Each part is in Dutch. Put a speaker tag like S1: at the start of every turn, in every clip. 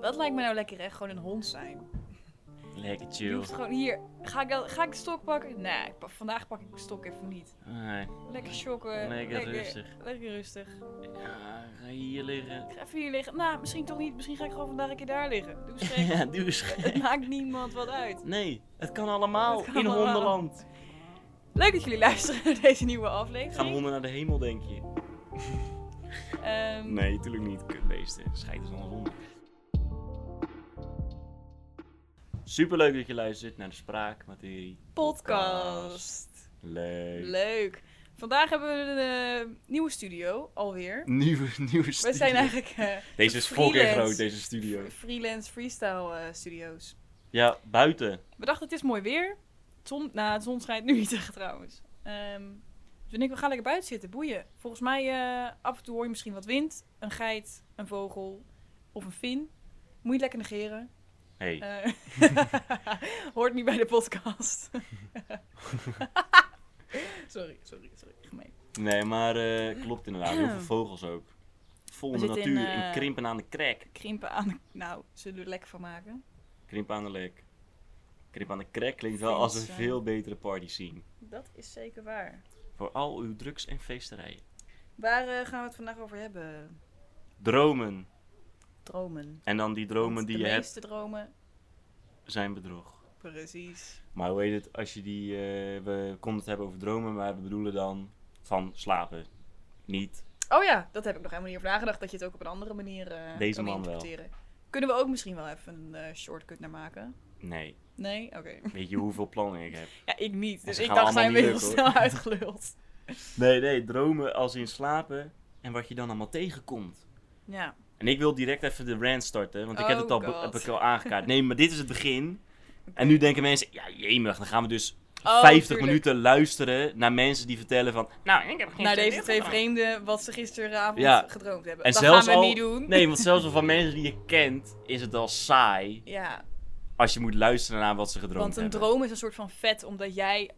S1: Dat lijkt me nou lekker, hè? Gewoon een hond zijn.
S2: Lekker
S1: Je
S2: chill.
S1: hoeft gewoon hier. Ga ik, dan- ga ik de stok pakken? Nee, ik pa- vandaag pak ik de stok even niet.
S2: Nee.
S1: Lekker shocken.
S2: Lekker rustig.
S1: Eh, Lekker rustig.
S2: Ja, ga hier liggen.
S1: Ik ga even hier liggen. Nou, misschien toch niet. Misschien ga ik gewoon vandaag een keer daar liggen. Doe schrik.
S2: Ja, doe eens gek.
S1: Het maakt niemand wat uit.
S2: Nee, het kan allemaal
S1: Het kan
S2: in
S1: allemaal.
S2: hondenland.
S1: Leuk dat jullie luisteren naar deze nieuwe
S2: Gaan
S1: aflevering.
S2: honden naar de hemel, denk je?
S1: Ehm,
S2: Nee, natuurlijk niet. Kutbeesten. Scheid is dan honden. Superleuk dat je luistert naar de Spraakmaterie.
S1: Podcast.
S2: Leuk.
S1: Leuk. Vandaag hebben we een eh, nieuwe studio alweer.
S2: Nieuwe, nieuwe studio.
S1: We zijn eigenlijk eh,
S2: Deze is fucking
S1: freelance.
S2: groot, deze studio.
S1: freelance freestyle eh, studio's.
S2: Ja, buiten.
S1: We dachten, het is mooi weer. Het Zon, nou, de zon schijnt nu niet echt trouwens. Ehm, dus ik denk, we gaan lekker buiten zitten, boeien. Volgens mij, eh, af en toe hoor je misschien wat wind. Een geit, een vogel of een vin. Moet je lekker negeren.
S2: Hey.
S1: Eh, hoort niet bij de podcast. sorry, sorry, sorry. Gemeen.
S2: Nee, maar eh, klopt inderdaad. Heel veel vogels ook. Vol
S1: We
S2: in de
S1: zitten in,
S2: natuur en
S1: eh,
S2: krimpen aan de krek.
S1: Krimpen aan de... Nou, zullen we er lekker van maken?
S2: Krimpen aan de lek. Krimpen aan de krek klinkt wel als een
S1: Feest, eh.
S2: veel betere party scene.
S1: Dat is zeker waar.
S2: Voor al uw drugs en feesterijen.
S1: Waar eh, gaan we het vandaag over hebben?
S2: Dromen.
S1: Dromen.
S2: En dan die dromen
S1: Want
S2: die
S1: de
S2: je hebt
S1: meeste dromen,
S2: zijn bedrog.
S1: precies.
S2: Maar hoe heet het als je die... eh, we konden het hebben over dromen, maar we bedoelen dan van slapen. Niet.
S1: Oh ja, dat heb ik nog helemaal niet over nagedacht. Dat je het ook op een andere manier eh
S2: Deze
S1: kan
S2: man wel.
S1: interpreteren. Kunnen we ook misschien wel even een eh, shortcut naar maken?
S2: Nee.
S1: Nee? Oké.
S2: Weet je hoeveel plannen ik heb?
S1: Ja, ik niet. Dus
S2: ze
S1: ik
S2: gaan
S1: dacht, zijn
S2: allemaal
S1: we heel
S2: niet lukken,
S1: snel uitgeluld.
S2: Nee, nee. Dromen als in slapen. En wat je dan allemaal tegenkomt.
S1: Ja.
S2: En ik wil direct even de rant starten, want ik heb
S1: Oh
S2: het al, be-
S1: God.
S2: heb ik al aangekaart. Nee, maar dit is het begin. En nu denken mensen, ja jemig, dan gaan we dus
S1: Oh,
S2: 50
S1: tuurlijk.
S2: minuten luisteren naar mensen die vertellen van... Nou, ik heb geen
S1: Naar
S2: zin
S1: deze
S2: in
S1: twee
S2: gedroomd."
S1: vreemden wat ze gisteravond
S2: Ja.
S1: gedroomd hebben.
S2: En
S1: dat
S2: zelfs
S1: gaan we
S2: al-
S1: niet doen.
S2: Nee, want zelfs al van mensen die je kent is het al saai
S1: Ja,
S2: als je moet luisteren naar wat ze gedroomd
S1: want een
S2: hebben.
S1: droom is een soort van vet, omdat jij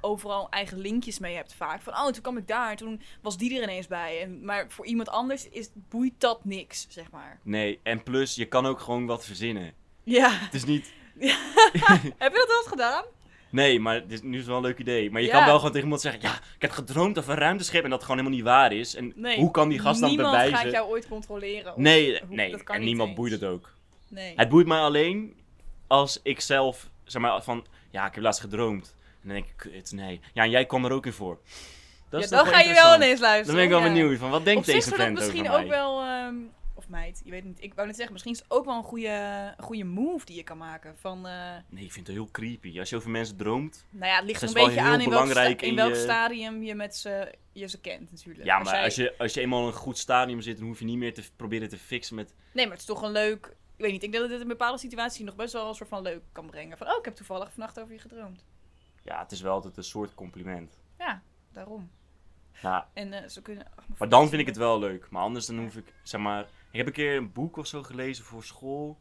S1: overal eigen linkjes mee hebt vaak. Van, oh, en toen kwam ik daar, en toen was die er ineens bij. En, maar voor iemand anders is, boeit dat niks, zeg maar.
S2: Nee, en plus, je kan ook gewoon wat verzinnen.
S1: Ja.
S2: Het is niet...
S1: heb je dat wel eens gedaan?
S2: Nee, maar dit is, nu is het wel een leuk idee. Maar je
S1: Ja.
S2: kan wel gewoon tegen iemand zeggen... Ja, ik heb gedroomd over een ruimteschip en dat gewoon helemaal niet waar is. En
S1: Nee,
S2: hoe kan die gast dan
S1: Niemand
S2: bewijzen...
S1: gaat jou ooit controleren. of-
S2: Nee,
S1: hoe-
S2: nee.
S1: dat kan
S2: en
S1: niet
S2: niemand
S1: eens.
S2: boeit het ook.
S1: nee.
S2: Het boeit mij alleen als ik zelf, zeg maar, van... Ja, ik heb laatst gedroomd. En dan denk ik, kut, nee. Ja, en jij kwam er ook in voor. Dat
S1: Ja,
S2: is toch
S1: dan ga je wel
S2: interessant.
S1: ineens luisteren.
S2: Dan ben ik wel
S1: ja.
S2: benieuwd van, wat
S1: Op
S2: denkt
S1: zich
S2: deze
S1: zou dat
S2: vent over
S1: misschien
S2: mij?
S1: ook wel... ehm, of meid, je weet niet. Ik wou net zeggen, misschien is het ook wel een goede, goede move die je kan maken. Van, eh,
S2: Nee, ik vind het heel creepy. Als je over mensen droomt...
S1: nou ja, het ligt
S2: Dat
S1: er een
S2: is wel
S1: beetje
S2: heel
S1: aan in welk, sta-
S2: belangrijk
S1: in
S2: in
S1: welk
S2: je-
S1: stadium je, met ze, je ze kent natuurlijk.
S2: Ja,
S1: Als
S2: maar
S1: jij-
S2: als je, als je eenmaal in een goed stadium zit... dan hoef je niet meer te f- proberen te fixen met...
S1: Nee, maar het is toch een leuk... Ik weet niet, ik denk dat dit een bepaalde situatie nog best wel een soort van leuk kan brengen. Van, oh, ik heb toevallig vannacht over je gedroomd.
S2: Ja, het is wel altijd een soort compliment.
S1: Ja, daarom.
S2: Ja,
S1: En eh, ze kunnen... ach, mijn
S2: maar
S1: voeten
S2: dan vind ik het
S1: zijn-
S2: wel leuk. Maar anders dan hoef ik, zeg maar... Ik heb een keer een boek of zo gelezen voor school...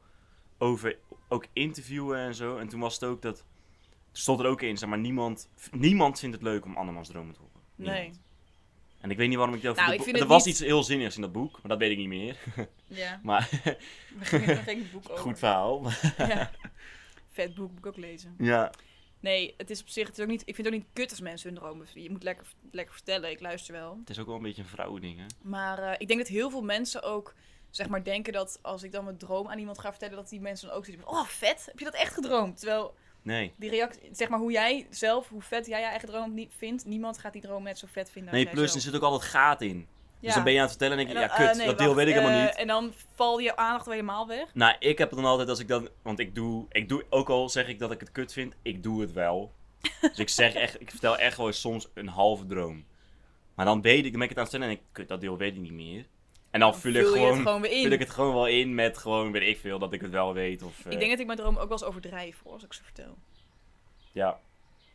S2: over ook interviewen en zo. En toen was het ook dat... Er stond er ook in, zeg maar, niemand, niemand vindt het leuk om andermans dromen te horen. Niemand.
S1: Nee,
S2: En ik weet niet waarom ik dat over
S1: Nou, ik
S2: dat boek-
S1: vind
S2: Er
S1: het
S2: was
S1: niet-
S2: iets heel zinnigs in dat boek, maar dat weet ik niet meer.
S1: ja.
S2: Maar
S1: Dan ging het boek over.
S2: goed verhaal.
S1: ja. Vet boek moet ik ook lezen.
S2: ja.
S1: Nee, het is op zich het is ook niet. Ik vind het ook niet kut als mensen hun dromen. Je moet lekker, lekker vertellen. Ik luister wel.
S2: Het is ook wel een beetje een vrouwending, hè?
S1: Maar eh, ik denk dat heel veel mensen ook zeg maar denken dat als ik dan mijn droom aan iemand ga vertellen, dat die mensen dan ook zitten. van, Oh, vet. Heb je dat echt gedroomd? Terwijl
S2: Nee.
S1: die reactie, zeg maar hoe jij zelf, hoe vet jij je eigen droom niet vindt, niemand gaat die droom net zo vet vinden. als
S2: Nee,
S1: jij
S2: plus er
S1: zelf.
S2: zit ook altijd gaat in. Dus dan ben je aan het vertellen en denk je,
S1: En dan,
S2: ja kut,
S1: eh, nee,
S2: dat deel
S1: wacht,
S2: weet ik helemaal
S1: eh,
S2: niet.
S1: En dan val je aandacht wel helemaal weg.
S2: Nou, ik heb het dan altijd als ik dan... Want ik doe, ik doe... Ook al zeg ik dat ik het kut vind, ik doe het wel. dus ik zeg echt... Ik vertel echt wel eens soms een halve droom. Maar dan weet ik... Dan ben ik het aan het vertellen en denk ik, kut, dat deel weet ik niet meer. En dan, vul, ik
S1: je
S2: gewoon,
S1: het gewoon weer in.
S2: vul ik het gewoon wel in met gewoon, weet ik veel, dat ik het wel weet. Of, eh,
S1: Ik denk dat ik mijn droom ook wel eens overdrijf hoor, als ik ze vertel.
S2: Ja.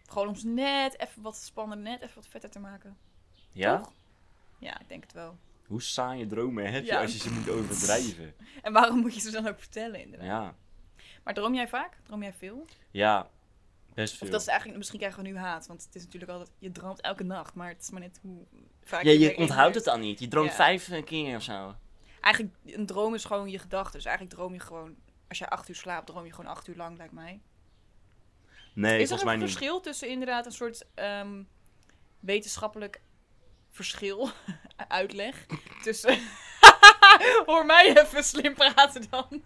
S1: Gewoon om ze net even wat spannender, net even wat vetter te maken.
S2: Ja?
S1: Toch? Ja, ik denk het wel.
S2: Hoe saaie dromen heb je
S1: Ja.
S2: als je ze moet overdrijven?
S1: En waarom moet je ze dan ook vertellen, inderdaad?
S2: Ja.
S1: Maar droom jij vaak? Droom jij veel?
S2: Ja. Best veel.
S1: Of dat is eigenlijk, misschien krijgen we nu haat, want het is natuurlijk altijd, je droomt elke nacht, maar het is maar net hoe vaak
S2: Ja, je
S1: erin
S2: onthoudt het
S1: leeft.
S2: dan niet. Je droomt
S1: Ja.
S2: vijf eh, keer of zo.
S1: Eigenlijk, een droom is gewoon je gedachte. Dus eigenlijk droom je gewoon... Als jij acht uur slaapt, droom je gewoon acht uur lang, lijkt mij.
S2: Nee,
S1: is er
S2: volgens
S1: een
S2: mij niet.
S1: verschil tussen inderdaad een soort ehm, wetenschappelijk verschil, uitleg, tussen... Hoor mij even slim praten dan.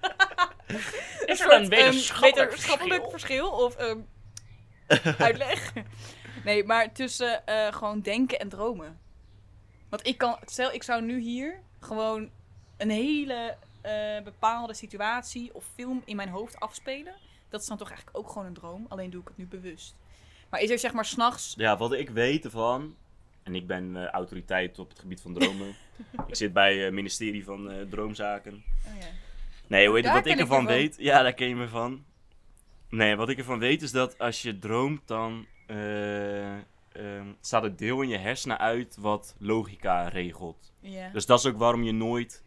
S2: Is
S1: soort,
S2: er een
S1: ehm,
S2: wetenschappelijk
S1: wetenschappelijk
S2: verschil?
S1: verschil? Of ehm, uitleg? Nee, maar tussen eh, gewoon denken en dromen. Want ik kan, stel ik zou nu hier gewoon een hele eh, bepaalde situatie of film in mijn hoofd afspelen. Dat is dan toch eigenlijk ook gewoon een droom, alleen doe ik het nu bewust. Maar is er zeg maar s'nachts...
S2: Ja, wat ik weet ervan, en ik ben eh, autoriteit op het gebied van dromen. ik zit bij het ministerie van eh, Droomzaken.
S1: Oh ja.
S2: Nee, hoe heet het,
S1: Daar
S2: wat ik
S1: ken ik
S2: ervan
S1: je van.
S2: weet? Ja, daar ken je me van. Nee, wat ik ervan weet is dat als je droomt, dan eh, ehm, staat het deel in je hersenen uit wat logica regelt.
S1: Ja.
S2: Dus dat is ook waarom je nooit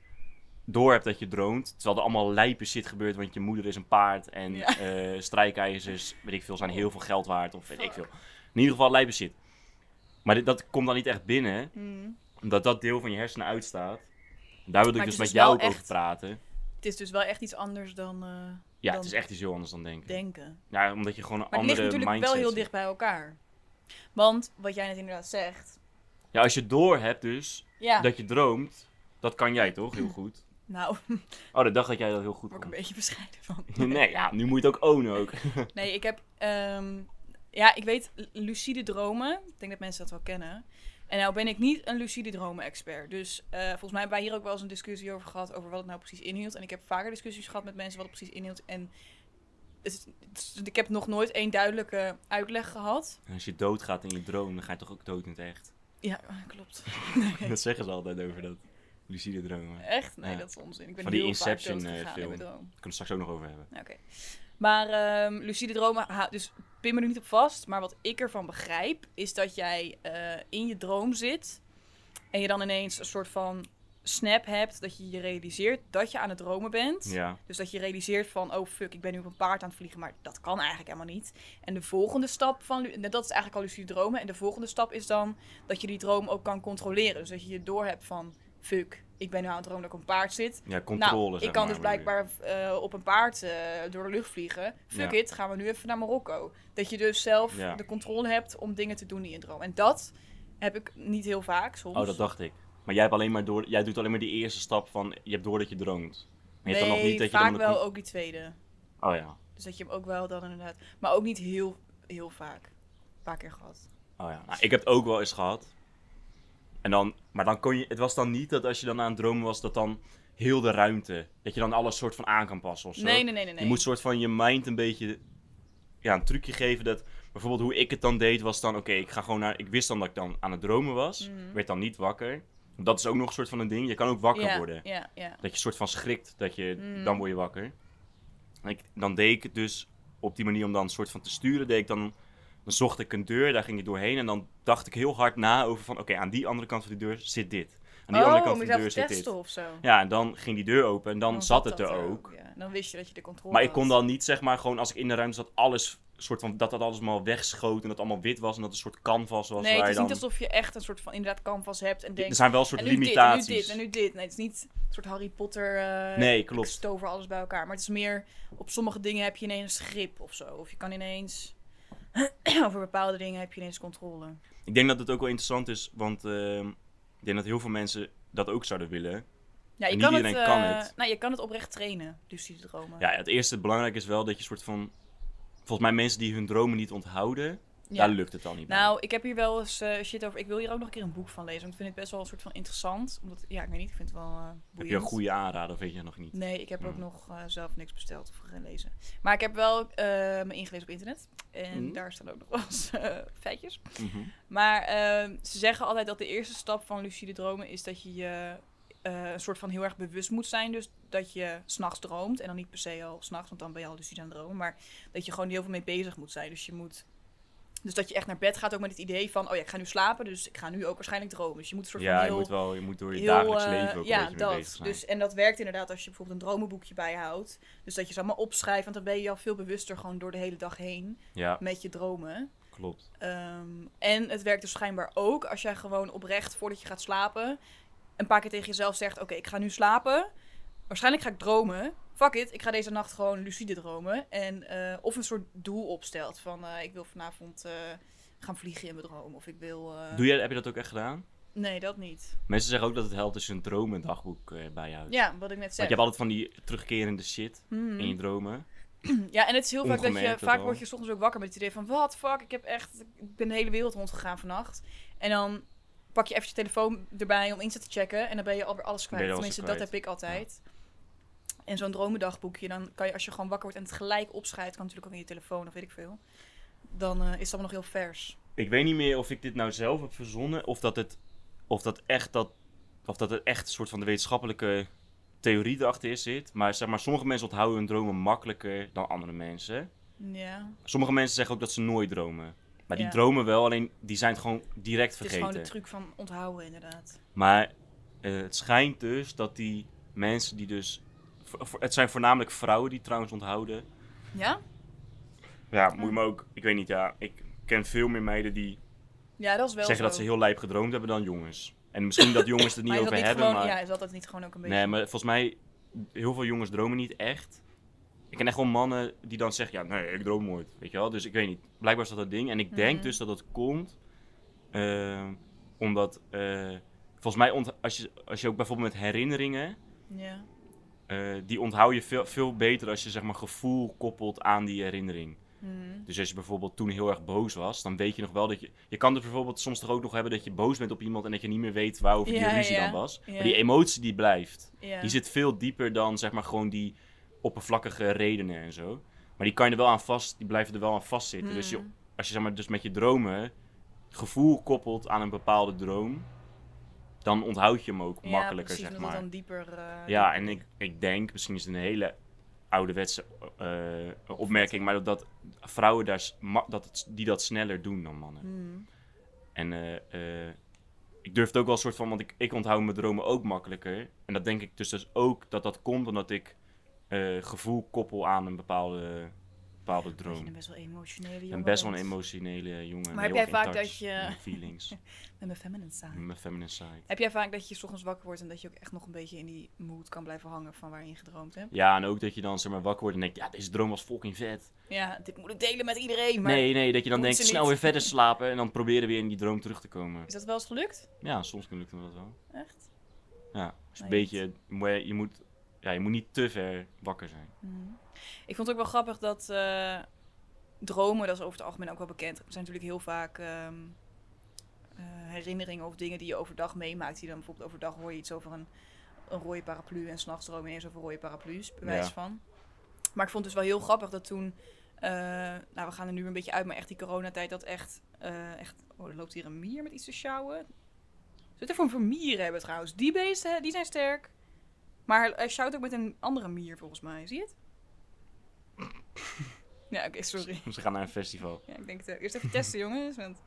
S2: door hebt dat je droomt. Terwijl er allemaal lijpe shit gebeurt, want je moeder is een paard en
S1: Ja.
S2: eh, strijkijzers, weet ik veel, zijn heel veel geld waard of weet ik veel. In ieder geval lijpe shit. Maar dit- dat komt dan niet echt binnen,
S1: Hmm.
S2: omdat dat deel van je hersenen uitstaat. Daar wilde ik
S1: Maar het
S2: dus met
S1: is dus wel
S2: jou ook
S1: echt
S2: over praten.
S1: Het is dus wel echt iets anders dan eh,
S2: Ja,
S1: dan
S2: het is echt iets heel anders dan denken.
S1: denken.
S2: Ja, omdat je gewoon een
S1: Maar het ligt
S2: andere dus.
S1: natuurlijk
S2: mindset
S1: wel heel
S2: hebt.
S1: dicht bij elkaar. Want wat jij net inderdaad zegt.
S2: Ja, als je door hebt dus,
S1: Ja,
S2: dat je droomt, dat kan jij toch heel goed?
S1: nou, daar
S2: Oh, de dag dat jij dat heel goed
S1: word ik een
S2: kon.
S1: beetje bescheiden van.
S2: Nee, ja, nu moet je het ook ownen ook.
S1: Nee, ik heb. ehm, ja, ik weet l- lucide dromen. Ik denk dat mensen dat wel kennen. En nou ben ik niet een lucide dromen-expert. Dus eh, volgens mij hebben wij hier ook wel eens een discussie over gehad. Over wat het nou precies inhield. En ik heb vaker discussies gehad met mensen wat het precies inhield. En het is- het is- ik heb nog nooit één duidelijke uitleg gehad.
S2: En als je doodgaat in je droom, dan ga je toch ook dood in het echt?
S1: Ja, klopt.
S2: Dat zeggen ze altijd over dat lucide dromen. Daar
S1: Echt? Nee,
S2: Ja.
S1: dat is onzin. Ik ben
S2: Van die
S1: heel
S2: Inception,
S1: vaak
S2: eh,
S1: doodgegaan in mijn
S2: film.
S1: droom.
S2: kunnen we het straks ook nog over hebben.
S1: Oké. Maar ehm, lucide dromen, ha- dus pin me er niet op vast. Maar wat ik ervan begrijp, is dat jij eh, in je droom zit. En je dan ineens een soort van snap hebt. Dat je je realiseert dat je aan het dromen bent.
S2: Ja.
S1: Dus dat je realiseert van, oh fuck, ik ben nu op een paard aan het vliegen. Maar dat kan eigenlijk helemaal niet. En de volgende stap van, lu- dat is eigenlijk al lucide dromen. En de volgende stap is dan dat je die droom ook kan controleren. Dus dat je je doorhebt van, fuck, ik ben nu aan het dromen dat ik op een paard zit.
S2: Ja, controle
S1: Nou,
S2: zeg
S1: ik kan
S2: maar,
S1: dus
S2: bedoel je.
S1: blijkbaar eh, op een paard eh, door de lucht vliegen. Fuck
S2: Ja.
S1: it, gaan we nu even naar Marokko. Dat je dus zelf
S2: Ja.
S1: de controle hebt om dingen te doen in je droom. En dat heb ik niet heel vaak soms.
S2: Oh, dat dacht ik. Maar jij, hebt alleen maar door, jij doet alleen maar die eerste stap van je hebt door dat je droomt. Maar je hebt dan nog
S1: Nee,
S2: niet dat je
S1: vaak
S2: dan de
S1: wel
S2: con-
S1: ook die tweede.
S2: Oh ja.
S1: Dus dat je hem ook wel dan inderdaad... Maar ook niet heel, heel vaak. Een paar keer gehad.
S2: Oh ja. Nou, ik heb het ook wel eens gehad. En dan, maar dan kon je, het was dan niet dat als je dan aan het dromen was, dat dan heel de ruimte, dat je dan alles soort van aan kan passen of zo.
S1: Nee, nee, nee, nee. nee.
S2: Je moet soort van je mind een beetje ja, een trucje geven dat bijvoorbeeld hoe ik het dan deed was dan oké, ik ga gewoon naar ik wist dan dat ik dan aan het dromen was,
S1: Mhm.
S2: werd dan niet wakker. Dat is ook nog een soort van een ding. Je kan ook wakker
S1: ja,
S2: worden.
S1: Ja, ja.
S2: Dat je soort van schrikt dat je
S1: Mhm.
S2: dan word je wakker. En ik, dan deed ik het dus op die manier om dan een soort van te sturen, deed ik dan dan zocht ik een deur, daar ging ik doorheen en dan dacht ik heel hard na over van oké, aan die andere kant van die deur zit dit. Aan die
S1: oh,
S2: andere kant
S1: om
S2: van de
S1: jezelf
S2: deur
S1: te
S2: zit
S1: testen Oh,
S2: dit.
S1: of zo.
S2: Ja, en dan ging die deur open en dan, zat het er ook.
S1: ja. Dan wist je dat je de controle
S2: Maar ik
S1: had.
S2: kon dan niet, zeg maar, gewoon als ik in de ruimte zat, alles, soort van, dat dat alles maar wegschoot en dat het allemaal wit was en dat het een soort canvas was.
S1: Nee,
S2: waar
S1: het
S2: je
S1: is
S2: dan...
S1: niet alsof je echt een soort van inderdaad canvas hebt en denkt...
S2: Er zijn wel een soort
S1: En nu
S2: limitaties.
S1: dit, en nu dit, en nu dit. Nee, het is niet een soort Harry Potter... eh,
S2: Nee,
S1: Ik
S2: klopt.
S1: stover alles bij elkaar. Maar het is meer... Op sommige dingen heb je ineens grip of zo. Of je kan ineens... over bepaalde dingen heb je ineens controle.
S2: Ik denk dat het ook wel interessant is, want ehm, ik denk dat heel veel mensen dat ook zouden willen.
S1: Ja, je
S2: niet
S1: kan het,
S2: iedereen kan
S1: eh,
S2: het.
S1: Nou, je kan het oprecht trainen, lucide dromen.
S2: Ja, het eerste belangrijke is wel dat je soort van, volgens mij mensen die hun dromen niet onthouden,
S1: Ja.
S2: daar lukt het dan niet bij.
S1: Nou, ik heb hier wel eens eh, shit over... Ik wil hier ook nog een keer een boek van lezen. Want ik vind het best wel een soort van interessant. Omdat, ja, ik weet niet. Ik vind het wel eh
S2: Heb
S1: boeiend.
S2: je een goede aanrader of weet je dat nog niet?
S1: Nee, ik heb ook
S2: Hmm.
S1: nog eh, zelf niks besteld of gelezen. Maar ik heb wel eh, me ingelezen op internet. En
S2: Hmm.
S1: daar staan ook nog wel eens eh, feitjes.
S2: Mhm.
S1: Maar ehm, ze zeggen altijd dat de eerste stap van lucide dromen is dat je je eh, een soort van heel erg bewust moet zijn. Dus dat je s'nachts droomt. En dan niet per se al s'nachts, want dan ben je al lucide aan het dromen. Maar dat je gewoon heel veel mee bezig moet zijn. Dus je moet... Dus dat je echt naar bed gaat ook met het idee van... Oh ja, ik ga nu slapen, dus ik ga nu ook waarschijnlijk dromen. Dus je moet een soort
S2: Ja,
S1: van
S2: je
S1: heel
S2: moet wel, je moet door je
S1: heel,
S2: dagelijks
S1: eh,
S2: leven ook
S1: ja,
S2: een beetje
S1: dat.
S2: mee bezig zijn.
S1: Dus, en dat werkt inderdaad als je bijvoorbeeld een dromenboekje bijhoudt. Dus dat je ze allemaal opschrijft, want dan ben je al veel bewuster gewoon door de hele dag heen
S2: Ja,
S1: met je dromen.
S2: klopt.
S1: Ehm, en het werkt dus schijnbaar ook als jij gewoon oprecht voordat je gaat slapen een paar keer tegen jezelf zegt: Oké, ik ga nu slapen. Waarschijnlijk ga ik dromen. Fuck it, ik ga deze nacht gewoon lucide dromen. En, eh, of een soort doel opstelt van: eh, Ik wil vanavond eh, gaan vliegen in mijn droom. Of ik wil. eh,
S2: Doe je, heb je dat ook echt gedaan?
S1: Nee, dat niet.
S2: Mensen zeggen ook dat het helpt als je een droom en dagboek eh, bij je houdt.
S1: Ja, wat ik net
S2: Want
S1: zei.
S2: je hebt altijd van die terugkerende shit
S1: Hmm.
S2: in je dromen.
S1: Ja, en het is heel vaak dat je...
S2: Ongemerkt
S1: Vaak
S2: al.
S1: word je 's ochtends ook wakker met het idee van... Wat, fuck, ik heb echt... Ik ben de hele wereld rondgegaan vannacht. En dan pak je even je telefoon erbij om Insta te checken. En dan ben je alweer alles
S2: Ben
S1: kwijt.
S2: je alles
S1: Tenminste, dat
S2: kwijt.
S1: heb ik altijd. En zo'n dromendagboekje, dan kan je als je gewoon wakker wordt... en het gelijk opschrijft, kan natuurlijk ook in je telefoon of weet ik veel. Dan eh, is dat nog heel vers.
S2: Ik weet niet meer of ik dit nou zelf heb verzonnen of dat het, of dat echt, dat, of dat het echt een soort van de wetenschappelijke theorie erachter is zit. Maar zeg maar, sommige mensen onthouden hun dromen makkelijker dan andere mensen.
S1: Ja,
S2: Sommige mensen zeggen ook dat ze nooit dromen. Maar die
S1: Ja.
S2: dromen wel, alleen die zijn het gewoon
S1: het
S2: direct
S1: is
S2: vergeten.
S1: gewoon de truc van onthouden inderdaad.
S2: Maar eh, het schijnt dus dat die mensen die dus... vo- vo- Het zijn voornamelijk vrouwen die trouwens onthouden.
S1: Ja?
S2: Ja, moet je me ook... Ik weet niet, ja. Ik ken veel meer meiden die
S1: Ja, dat is wel
S2: zeggen
S1: zo.
S2: dat ze heel lijp gedroomd hebben dan jongens. En misschien dat jongens het niet
S1: maar is dat
S2: over
S1: niet
S2: hebben,
S1: gewoon,
S2: maar...
S1: Ja, is dat dat niet gewoon ook een beetje...
S2: nee, maar volgens mij... Heel veel jongens dromen niet echt. Ik ken echt wel mannen die dan zeggen... Ja, nee, ik droom nooit. Weet je wel? Dus ik weet niet. Blijkbaar is dat dat ding. En ik denk
S1: Mhm.
S2: dus dat dat komt... eh, omdat... eh, volgens mij, ont- als, je, als je ook bijvoorbeeld met herinneringen...
S1: Ja.
S2: eh, die onthoud je veel, veel beter als je zeg maar, gevoel koppelt aan die herinnering.
S1: Mhm.
S2: Dus als je bijvoorbeeld toen heel erg boos was, dan weet je nog wel dat je. Je kan dus bijvoorbeeld soms toch ook nog hebben dat je boos bent op iemand en dat je niet meer weet waarover
S1: Ja,
S2: die ruzie
S1: ja,
S2: dan was.
S1: ja.
S2: Maar die emotie die blijft,
S1: Ja.
S2: die zit veel dieper dan zeg maar gewoon die oppervlakkige redenen en zo. Maar die kan je er wel aan vast, die blijven er wel aan vastzitten. Dus je,
S1: Mhm.
S2: als je zeg maar, dus met je dromen gevoel koppelt aan een bepaalde droom, dan onthoud je hem ook makkelijker,
S1: precies,
S2: zeg
S1: omdat
S2: maar.
S1: dan dieper... eh,
S2: Ja,
S1: dieper
S2: en ik,
S1: ligt.
S2: ik denk, misschien is het een hele ouderwetse eh, opmerking, maar dat, dat vrouwen daar, s- ma- dat het, die dat sneller doen dan mannen.
S1: Hmm.
S2: En eh, eh, ik durf het ook wel een soort van, want ik, ik onthoud mijn dromen ook makkelijker. En dat denk ik dus, dus ook dat dat komt omdat ik eh, gevoel koppel aan een bepaalde, bepaalde
S1: Dat je
S2: droom.
S1: een best wel emotionele
S2: Ik ben
S1: jongen
S2: best wel een
S1: bent.
S2: emotionele jongen.
S1: Maar heb jij
S2: heel erg in
S1: vaak
S2: touch
S1: dat je-
S2: met mijn feelings,
S1: Met mijn feminine side.
S2: met mijn feminine side.
S1: Heb jij vaak dat je 's ochtends wakker wordt en dat je ook echt nog een beetje in die mood kan blijven hangen van waarin je gedroomd hebt?
S2: Ja, en ook dat je dan zeg maar wakker wordt en denkt, ja, deze droom was fucking vet.
S1: Ja, dit moet ik delen met iedereen, maar
S2: nee, nee, dat je dan
S1: moet
S2: denkt
S1: ze niet.
S2: snel weer verder slapen en dan proberen weer in die droom terug te komen.
S1: is dat wel eens gelukt?
S2: Ja, soms lukt me dat wel.
S1: Echt?
S2: Ja, dus een
S1: Nee,
S2: beetje, maar je moet, ja, je moet niet te ver wakker zijn.
S1: Mhm. Ik vond het ook wel grappig dat eh, dromen, dat is over het algemeen ook wel bekend. Er zijn natuurlijk heel vaak ehm, eh, herinneringen of dingen die je overdag meemaakt. Die dan bijvoorbeeld overdag hoor je iets over een, een rode paraplu en s'nachts droom je ineens over rode paraplu's, bij wijze
S2: Ja.
S1: van. Maar ik vond het dus wel heel grappig dat toen, eh, nou we gaan er nu een beetje uit, maar echt die coronatijd dat echt, eh, echt oh er loopt hier een mier met iets te sjouwen. Zit er voor een mieren hebben trouwens. Die beesten, hè, die zijn sterk. Maar hij sjouwt ook met een andere mier volgens mij, zie je het? ja, oké, sorry.
S2: Ze gaan naar een festival.
S1: Ja, ik denk het. ook. Eerst even testen, jongens. Want...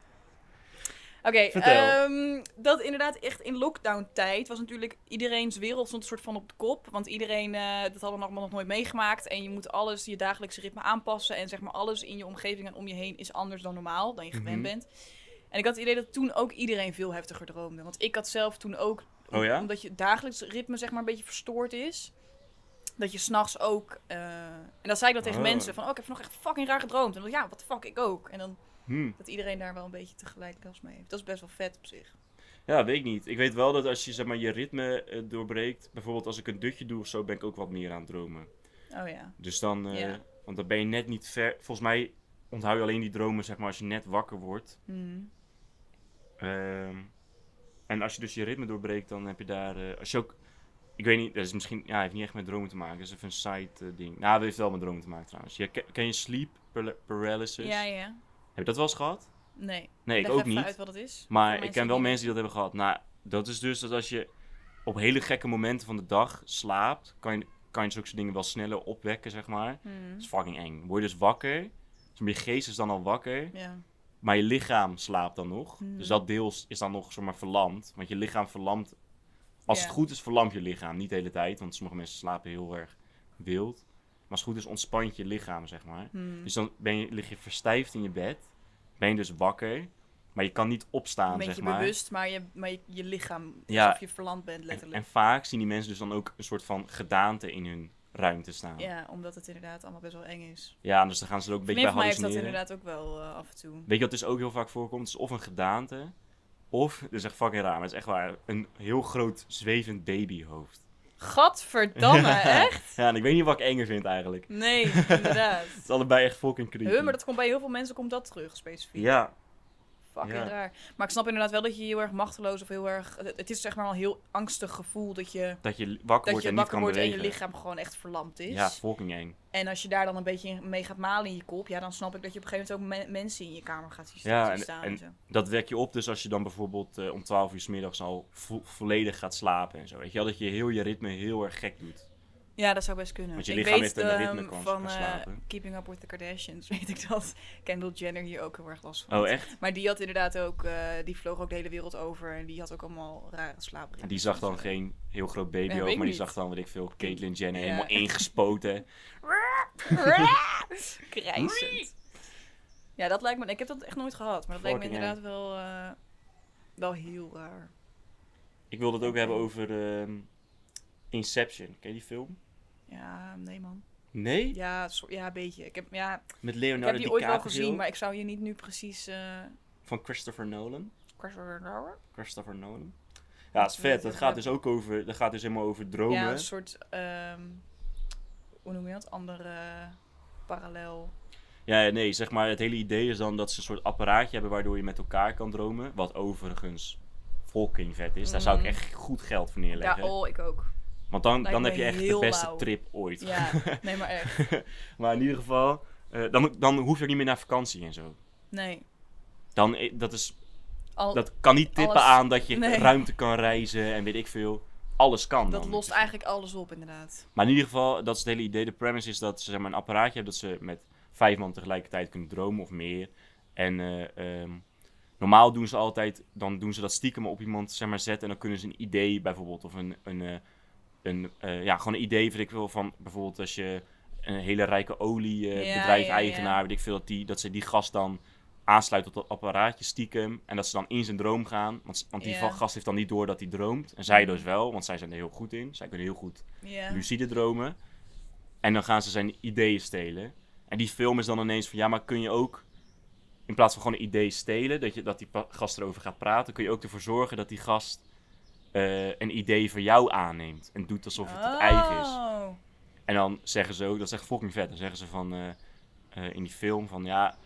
S1: Oké,
S2: Vertel.
S1: ehm, dat inderdaad echt in lockdown-tijd was natuurlijk iedereen's wereld stond een soort van op de kop. Want iedereen, eh, dat hadden we allemaal nog nooit meegemaakt. En je moet alles, je dagelijkse ritme aanpassen. En zeg maar alles in je omgeving en om je heen is anders dan normaal, dan je gewend
S2: Mhm.
S1: bent. En ik had het idee dat toen ook iedereen veel heftiger droomde. Want ik had zelf toen ook,
S2: Oh ja?
S1: omdat je dagelijks ritme zeg maar een beetje verstoord is. Dat je s'nachts ook. eh, en dan zei ik dat tegen
S2: Oh.
S1: mensen: van oh, ik heb nog echt fucking raar gedroomd. En dan, ja, wat de fuck, ik ook. En dan
S2: Hm.
S1: dat iedereen daar wel een beetje tegelijk last mee heeft. Dat is best wel vet op zich.
S2: Ja, weet ik niet. Ik weet wel dat als je zeg maar, je ritme eh, doorbreekt, bijvoorbeeld als ik een dutje doe of zo, ben ik ook wat meer aan het dromen.
S1: Oh ja.
S2: Dus dan, eh,
S1: Ja.
S2: want dan ben je net niet ver. Volgens mij onthoud je alleen die dromen zeg maar, als je net wakker wordt.
S1: Hmm.
S2: Ehm, en als je dus je ritme doorbreekt, dan heb je daar. eh, als je ook. Ik weet niet, dat is misschien. Ja, heeft niet echt met dromen te maken. Dat is even een side eh, ding. Nou, dat heeft wel met dromen te maken trouwens. Je, ken, ken je sleep paral- paralysis?
S1: Ja, ja.
S2: Heb je dat wel eens gehad?
S1: Nee.
S2: Nee, Dus- ik
S1: Leg
S2: ook
S1: even
S2: niet.
S1: uit wat het is.
S2: Maar
S1: Voor
S2: ik ken wel
S1: die-
S2: mensen die dat hebben gehad. Nou, dat is dus dat als je op hele gekke momenten van de dag slaapt, kan je, kan je zulke soort dingen wel sneller opwekken, zeg maar.
S1: Hmm.
S2: Dat is fucking eng. Word je dus wakker. Dus je geest is dan al wakker.
S1: Ja.
S2: Maar je lichaam slaapt dan nog.
S1: Mhm.
S2: Dus dat deel is dan nog zomaar verlamd. Want je lichaam verlamt. Als
S1: Ja.
S2: het goed is, verlamt je lichaam. Niet de hele tijd, want sommige mensen slapen heel erg wild. Maar als het goed is, ontspant je lichaam, zeg maar.
S1: Hmm.
S2: Dus dan ben je, lig je verstijfd in je bed. Ben je dus wakker. Maar je kan niet opstaan,
S1: Een beetje
S2: zeg maar.
S1: bewust, maar je, maar je, je lichaam,
S2: Ja.
S1: alsof je verland bent
S2: En,
S1: letterlijk.
S2: en vaak zien die mensen dus dan ook een soort van gedaante in hun ruimte staan. Ja,
S1: Ja, omdat het inderdaad allemaal best wel eng is.
S2: dus dan gaan ze er ook een beetje
S1: Nee,
S2: bij
S1: van mij heeft dat
S2: hallucineren.
S1: inderdaad ook wel eh, af en toe.
S2: Weet je wat dus ook heel vaak voorkomt? Het is of een gedaante, of, dit is echt fucking raar, maar het is echt waar, een heel groot zwevend babyhoofd.
S1: Gadverdamme,
S2: Ja.
S1: echt?
S2: Ja, en ik weet niet wat ik enger vind eigenlijk. Het
S1: Nee, inderdaad.
S2: is allebei echt fucking creepy.
S1: Huh, maar dat komt bij heel veel mensen komt dat terug, specifiek.
S2: Ja,
S1: Fucking
S2: Ja.
S1: raar. Maar ik snap inderdaad wel dat je je heel erg machteloos of heel erg... Het het is zeg maar al een heel angstig gevoel dat je,
S2: dat je wakker
S1: dat
S2: wordt
S1: je
S2: en niet
S1: wakker
S2: kan
S1: wordt en
S2: bewegen.
S1: je lichaam gewoon echt verlamd is.
S2: Ja, fucking eng.
S1: En als je daar dan een beetje mee gaat malen in je kop, ja, dan snap ik dat je op een gegeven moment ook me- mensen in je kamer gaat zien
S2: Ja,
S1: zien
S2: en-
S1: staan.
S2: en-
S1: zo.
S2: Dat wek je op dus als je dan bijvoorbeeld eh, om 12 uur 's middags al vo- volledig gaat slapen en zo. Weet je wel, dat je heel je ritme heel erg gek doet.
S1: ja, dat zou best kunnen.
S2: Want je
S1: Ik
S2: lichaam
S1: weet
S2: heeft een
S1: ehm,
S2: ritme kan-
S1: van
S2: kan
S1: eh,
S2: slapen.
S1: Keeping Up With The Kardashians, weet ik dat. Kendall Jenner hier ook heel erg last van.
S2: Oh,
S1: had.
S2: echt?
S1: Maar die had inderdaad ook, eh, die vloog ook de hele wereld over en die had ook allemaal rare slaapritmes.
S2: En die zag dan geen heel groot baby
S1: Ja, weet
S2: over,
S1: ik
S2: maar die
S1: niet.
S2: zag dan, weet ik veel, Caitlyn Jenner
S1: Ja.
S2: helemaal ingespoten.
S1: Krijsend. Ja, dat lijkt me. Ik heb dat echt nooit gehad, maar dat lijkt me
S2: Fucking
S1: inderdaad wel, eh, wel heel raar.
S2: Ik wilde het ook hebben over ehm, Inception. Ken je die film?
S1: Ja, nee man.
S2: Nee?
S1: Ja, so- ja een beetje. Ik heb, ja,
S2: Met
S1: ik
S2: Leonardo
S1: heb die ooit wel
S2: DiCaprio
S1: gezien, maar ik zou je niet nu precies. eh,
S2: van Christopher Nolan.
S1: Christopher Nolan?
S2: Christopher Nolan. Ja, het is vet. Dat gaat dus ook over, dat gaat dus helemaal over dromen.
S1: Ja, een soort. ehm, hoe noem je dat? Andere parallel.
S2: Ja, ja, nee, zeg maar, het hele idee is dan dat ze een soort apparaatje hebben waardoor je met elkaar kan dromen. Wat overigens fucking vet is. Daar zou ik
S1: Mhm.
S2: echt goed geld voor
S1: Ja,
S2: neerleggen.
S1: oh, ik ook.
S2: Want dan,
S1: lijkt
S2: dan heb
S1: me
S2: je echt de
S1: heel
S2: beste
S1: lauw.
S2: trip ooit.
S1: Ja, nee, maar echt.
S2: maar in ieder geval, eh, dan, dan hoef je ook niet meer naar vakantie en zo.
S1: Nee.
S2: Dan, eh, dat, is,
S1: Al, dat
S2: dat kan niet tippen
S1: alles-
S2: aan dat je
S1: nee.
S2: ruimte kan reizen en weet ik veel. Alles kan dan.
S1: lost eigenlijk alles op, inderdaad.
S2: Maar in ieder geval, dat is het hele idee. De premise is dat ze zeg maar, een apparaatje hebben dat ze met vijf man tegelijkertijd kunnen dromen of meer. En eh, ehm, normaal doen ze altijd, dan doen ze dat stiekem op iemand zeg maar, zetten. En dan kunnen ze een idee bijvoorbeeld, of een, een, eh, een eh, ja, gewoon een idee, vind ik wel, van bijvoorbeeld als je een hele rijke
S1: Ja,
S2: oliebedrijf-eigenaar,
S1: ja, ja.
S2: weet ik veel, dat, die, dat ze die gast dan aansluit op dat apparaatje stiekem. En dat ze dan in zijn droom gaan. Want, want die
S1: Ja.
S2: gast heeft dan niet door dat hij droomt. En zij
S1: Mhm.
S2: dus wel, want zij zijn er heel goed in. Zij kunnen heel goed
S1: Ja.
S2: lucide dromen. En dan gaan ze zijn ideeën stelen. En die film is dan ineens van ja, maar kun je ook in plaats van gewoon een idee stelen, dat, je, dat die pa- gast erover gaat praten, kun je ook ervoor zorgen dat die gast eh, een idee van jou aanneemt. En doet alsof het het eigen is.
S1: Oh.
S2: En dan zeggen ze ook, dat is echt fucking vet, dan zeggen ze van eh, eh, in die film van ja.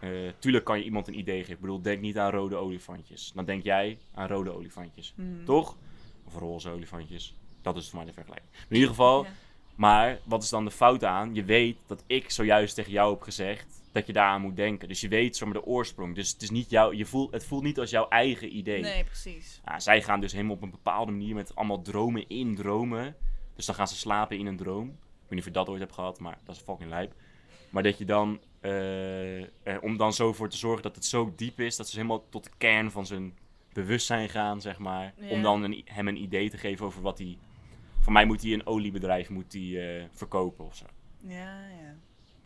S2: eh, tuurlijk kan je iemand een idee geven. Ik bedoel, denk niet aan rode olifantjes. Dan denk jij aan rode olifantjes.
S1: Hmm.
S2: Toch? Of roze olifantjes. Dat is voor mij de vergelijking. Maar in ieder geval,
S1: Ja.
S2: maar wat is dan de fout aan? Je weet dat ik zojuist tegen jou heb gezegd dat je daaraan moet denken. Dus je weet zomaar de oorsprong. Dus het, is niet jou, je voelt, het voelt niet als jouw eigen idee.
S1: Nee, precies.
S2: Ja, zij gaan dus helemaal op een bepaalde manier met allemaal dromen in dromen. Dus dan gaan ze slapen in een droom. Ik weet niet of je dat ooit hebt gehad, maar dat is fucking lijp. Maar dat je dan, eh, eh, om dan zo voor te zorgen dat het zo diep is, dat ze helemaal tot de kern van zijn bewustzijn gaan, zeg maar.
S1: Ja.
S2: Om dan een- hem een idee te geven over wat hij, van mij moet hij een oliebedrijf moet hij, eh, verkopen of zo.
S1: Ja, ja.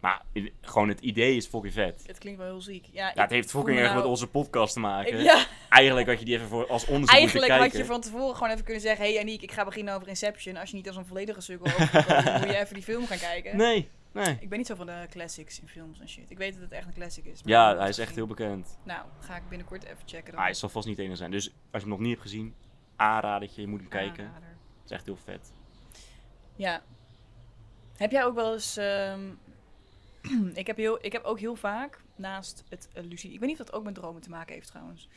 S2: Maar i- gewoon het idee is fucking vet.
S1: Het klinkt wel heel ziek. Ja,
S2: Ja, het heeft fucking erg met onze podcast te maken.
S1: Nou. Ja,
S2: Eigenlijk had je die even voor, als onderzoek
S1: eigenlijk
S2: moeten
S1: had
S2: kijken.
S1: je van tevoren gewoon even kunnen zeggen... Hé hey Aniek, ik ga beginnen over Inception. Als je niet als een volledige sukkel overkomt, dan moet je even die film gaan kijken.
S2: Nee, nee.
S1: Ik ben niet zo van de classics in films en shit. Ik weet dat het echt een classic is. maar ik
S2: Ja,
S1: heb
S2: hij
S1: het
S2: is echt heel
S1: gezien.
S2: bekend. Ah,
S1: Nou, ga ik binnenkort even checken dan.
S2: Hij zal vast niet de enige zijn. Dus als je hem nog niet hebt gezien, aanradertje, je moet hem kijken.
S1: Aanrader.
S2: Het is echt heel vet.
S1: Ja. Heb jij ook wel eens... ehm, ik, heb heel, ik heb ook heel vaak, naast het eh, lucide... Ik weet niet of dat ook met dromen te maken heeft trouwens.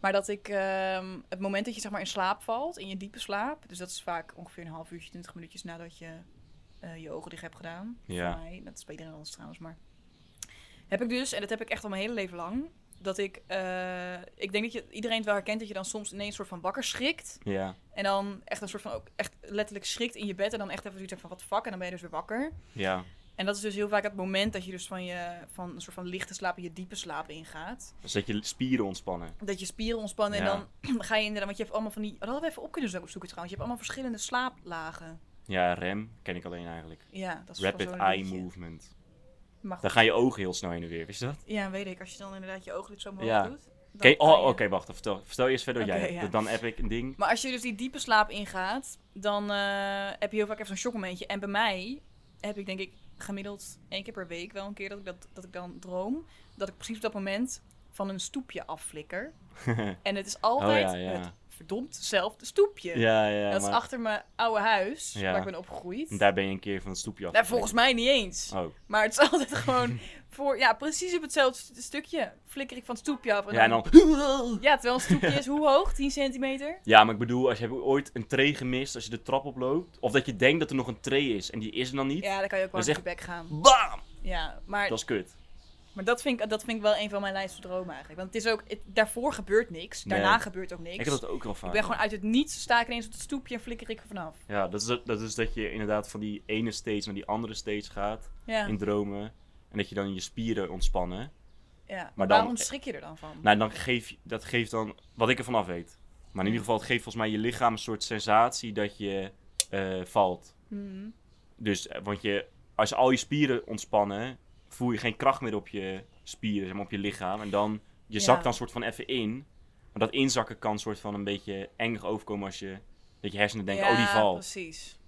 S1: Maar dat ik ehm, het moment dat je zeg maar in slaap valt, in je diepe slaap... Dus dat is vaak ongeveer een half uurtje, twintig minuutjes nadat je eh, je ogen dicht hebt gedaan.
S2: Ja.
S1: Voor mij, dat is bij iedereen anders trouwens, maar... Heb ik dus, en dat heb ik echt al mijn hele leven lang... Dat ik, eh, ik denk dat je, iedereen het wel herkent dat je dan soms ineens soort van wakker schrikt.
S2: Ja,
S1: En dan echt een soort van ook echt letterlijk schrikt in je bed. En dan echt even zoiets hebt van wat de fuck. En dan ben je dus weer wakker.
S2: ja.
S1: En dat is dus heel vaak het moment dat je dus van, je, van een soort van lichte slaap in je diepe slaap ingaat.
S2: Dus dat je spieren ontspannen.
S1: Dat je spieren ontspannen
S2: Ja.
S1: en dan ga je inderdaad... Want je hebt allemaal van die... Dat hadden we even op kunnen zo- zoeken trouwens. Je hebt allemaal verschillende slaaplagen.
S2: Ja, rem ken ik alleen eigenlijk.
S1: Ja, dat is van
S2: Rapid
S1: zo'n
S2: eye
S1: dingetje.
S2: movement.
S1: Maar goed,
S2: Dan gaan je ogen heel snel heen en weer, wist je dat?
S1: Ja, weet ik. Als je dan inderdaad je ooglid zo omhoog
S2: Ja.
S1: doet. dan
S2: Oké,
S1: ga
S2: oh,
S1: je-
S2: oké, wacht. Vertel, vertel eerst verder wat
S1: Oké,
S2: jij
S1: ja.
S2: hebt. Dan heb ik een ding.
S1: Maar als je dus die diepe slaap ingaat, dan eh, heb je heel vaak even zo'n shockmomentje. En bij mij heb ik denk ik gemiddeld één keer per week wel een keer dat ik, dat, dat ik dan droom. Dat ik precies op dat moment van een stoepje afflikker. En het is altijd
S2: Oh ja, ja.
S1: het verdomdzelfde stoepje.
S2: ja, ja.
S1: dat is
S2: maar-
S1: achter mijn oude huis,
S2: Ja.
S1: waar ik ben opgegroeid.
S2: Daar ben je een keer van het stoepje af.
S1: Nou, volgens mij niet eens.
S2: Oh.
S1: Maar het is altijd gewoon voor, ja, precies op hetzelfde st- stukje flikker ik van het stoepje af.
S2: Ja, en dan...
S1: Ja, terwijl een stoepje is hoe hoog? 10 centimeter?
S2: Ja, maar ik bedoel, als je hebt ooit een tree gemist als je de trap oploopt. Of dat je denkt dat er nog een tree is en die is er dan niet.
S1: Ja, dan kan je ook wel
S2: Dat
S1: op
S2: is
S1: je bek gaan.
S2: Bam!
S1: Ja, maar
S2: Dat is kut.
S1: Maar dat vind, ik, dat vind ik wel een van mijn lijst van dromen eigenlijk. Want het is ook, het- daarvoor gebeurt niks. Daarna
S2: Nee.
S1: gebeurt ook niks.
S2: Ik heb dat ook wel vaak.
S1: Ik ben gewoon uit het niets, sta ik ineens op het stoepje en flikker ik er vanaf.
S2: Ja, dat is, dat is dat je inderdaad van die ene stage naar die andere stage gaat
S1: Ja,
S2: in dromen. En dat je dan je spieren ontspannen.
S1: ja.
S2: maar
S1: Maar
S2: dan-
S1: waarom schrik je er dan van?
S2: Nou, dan geef, je- dat geeft dan, wat ik ervan af weet. Maar in ieder geval, het geeft volgens mij je lichaam een soort sensatie dat je eh, valt.
S1: Mhm.
S2: Dus, eh, want je, als al je spieren ontspannen, voel je geen kracht meer op je spieren, zeg maar op je lichaam. En dan, je
S1: Ja.
S2: zakt dan soort van even in. Maar dat inzakken kan soort van een beetje eng overkomen als je, dat je hersenen denken,
S1: ja,
S2: oh die valt.
S1: precies.